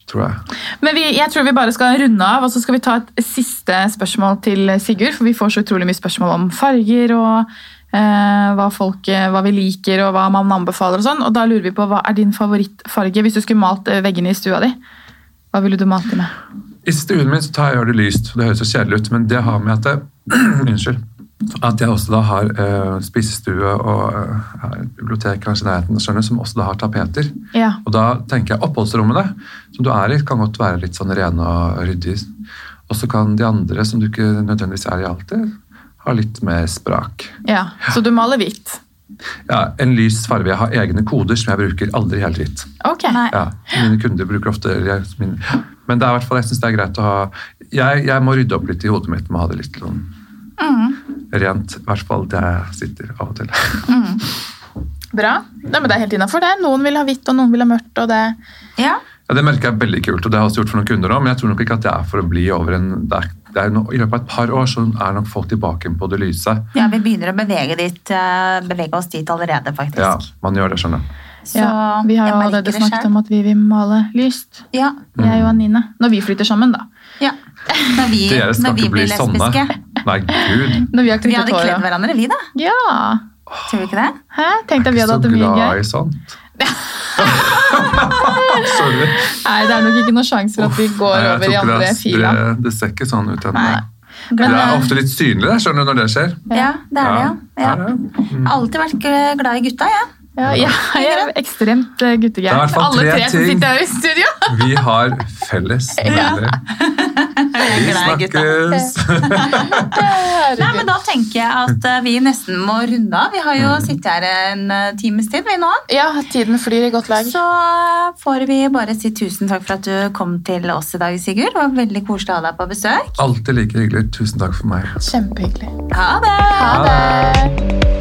B: Tror jeg.
A: Men vi, jeg tror vi bare skal runde av, og så skal vi ta et siste spørsmål til Sigurd. For vi får så utrolig mye spørsmål om farger og eh, hva, folk, eh, hva vi liker og hva man anbefaler og sånn. Og da lurer vi på hva er din favorittfarge hvis du skulle malt eh, veggene i stua di? Hva ville du malt de med?
B: I stuen min så tar jeg gjør det lyst, og det høres så kjedelig ut, men det har med at jeg, unnskyld, at jeg også da har eh, spisestue og eh, ja, et bibliotek kanskje i nærheten, skjønner, du, som også da har tapeter.
A: Ja.
B: Og da tenker jeg oppholdsrommene som du er i, kan godt være litt sånn rene og ryddige. Og så kan de andre, som du ikke nødvendigvis er i alltid, ha litt mer sprak.
A: ja. Så du maler hvitt?
B: Ja, en lys farge. Jeg har egne koder som jeg bruker aldri helt hvitt.
A: Ok.
C: Nei.
B: Ja, mine kunder bruker ofte jeg, mine. Men det er i hvert fall, jeg syns det er greit å ha jeg, jeg må rydde opp litt i hodet mitt med å ha det litt sånn rent. I hvert fall der jeg sitter av og til.
A: Bra. Nei, men det er helt innafor, det. Noen vil ha hvitt, og noen vil ha mørkt. og det...
C: Ja.
B: Ja, Det merker jeg er veldig kult, og det har jeg også gjort for noen kunder nå, men jeg tror nok ikke at det er for å bli over en det er, det er no, I løpet av et par år så er nok folk tilbake på det lyse.
C: ja, vi begynner å bevege, dit, eh, bevege oss dit allerede, faktisk.
B: Ja, man gjør det, skjønner jeg.
C: Så
A: ja, vi har
C: jeg
A: jo
C: merker
A: allerede
C: det
A: snakket
C: selv.
A: om at vi vil male lyst.
C: Ja.
A: Jeg og Anine. Når vi flytter sammen, da.
C: ja. Når vi,
B: Dere skal
C: når vi
B: ikke bli
C: blir
B: sånne.
C: lesbiske.
B: Nei, gud.
A: Når vi har
C: Vi
A: klippet
C: hadde kledd
A: håret.
C: hverandre, vi, da.
A: Ja.
C: Tror vi ikke det?
A: Hæ? Tenk
B: Jeg
A: deg vi
B: er
A: hadde hatt
B: ikke så
A: det mye
B: glad
A: gøy.
B: i sånt. Sorry.
A: Nei, det er nok ikke noen sjanse for at vi går
B: Nei, jeg
A: over i
B: tror ikke det er-
A: andre fila.
B: Det, det ser ikke sånn ut ennå.
A: Nei.
B: Det
A: Men,
B: er
A: eh,
B: ofte litt synlig, der, skjønner du, når det skjer.
C: Ja, det er det, ja. ja.
B: er det. Mm.
C: Jeg har alltid vært glad i gutta, jeg. Ja.
A: ja, ja, jeg er ekstremt eh,
B: Det er i
A: guttegæren.
B: hvert fall
A: Alle
B: tre
A: tre som
B: ting.
A: sitter her i studio.
B: Vi har felles deler. Vi
C: glad i gutta.
B: snakkes.
C: Nei, men Da tenker jeg at eh, vi nesten må runde av. Vi har
B: Mm.
C: jo sittet her en eh, times tid. vi nå.
A: Ja, tiden flyr i godt lag.
C: Så eh, får vi bare si tusen takk for at du kom til oss i dag, Sigurd. Det var veldig koselig å ha deg på besøk.
B: Alltid like hyggelig. Tusen takk for meg.
A: Kjempehyggelig.
C: Ha det!
A: Ha det!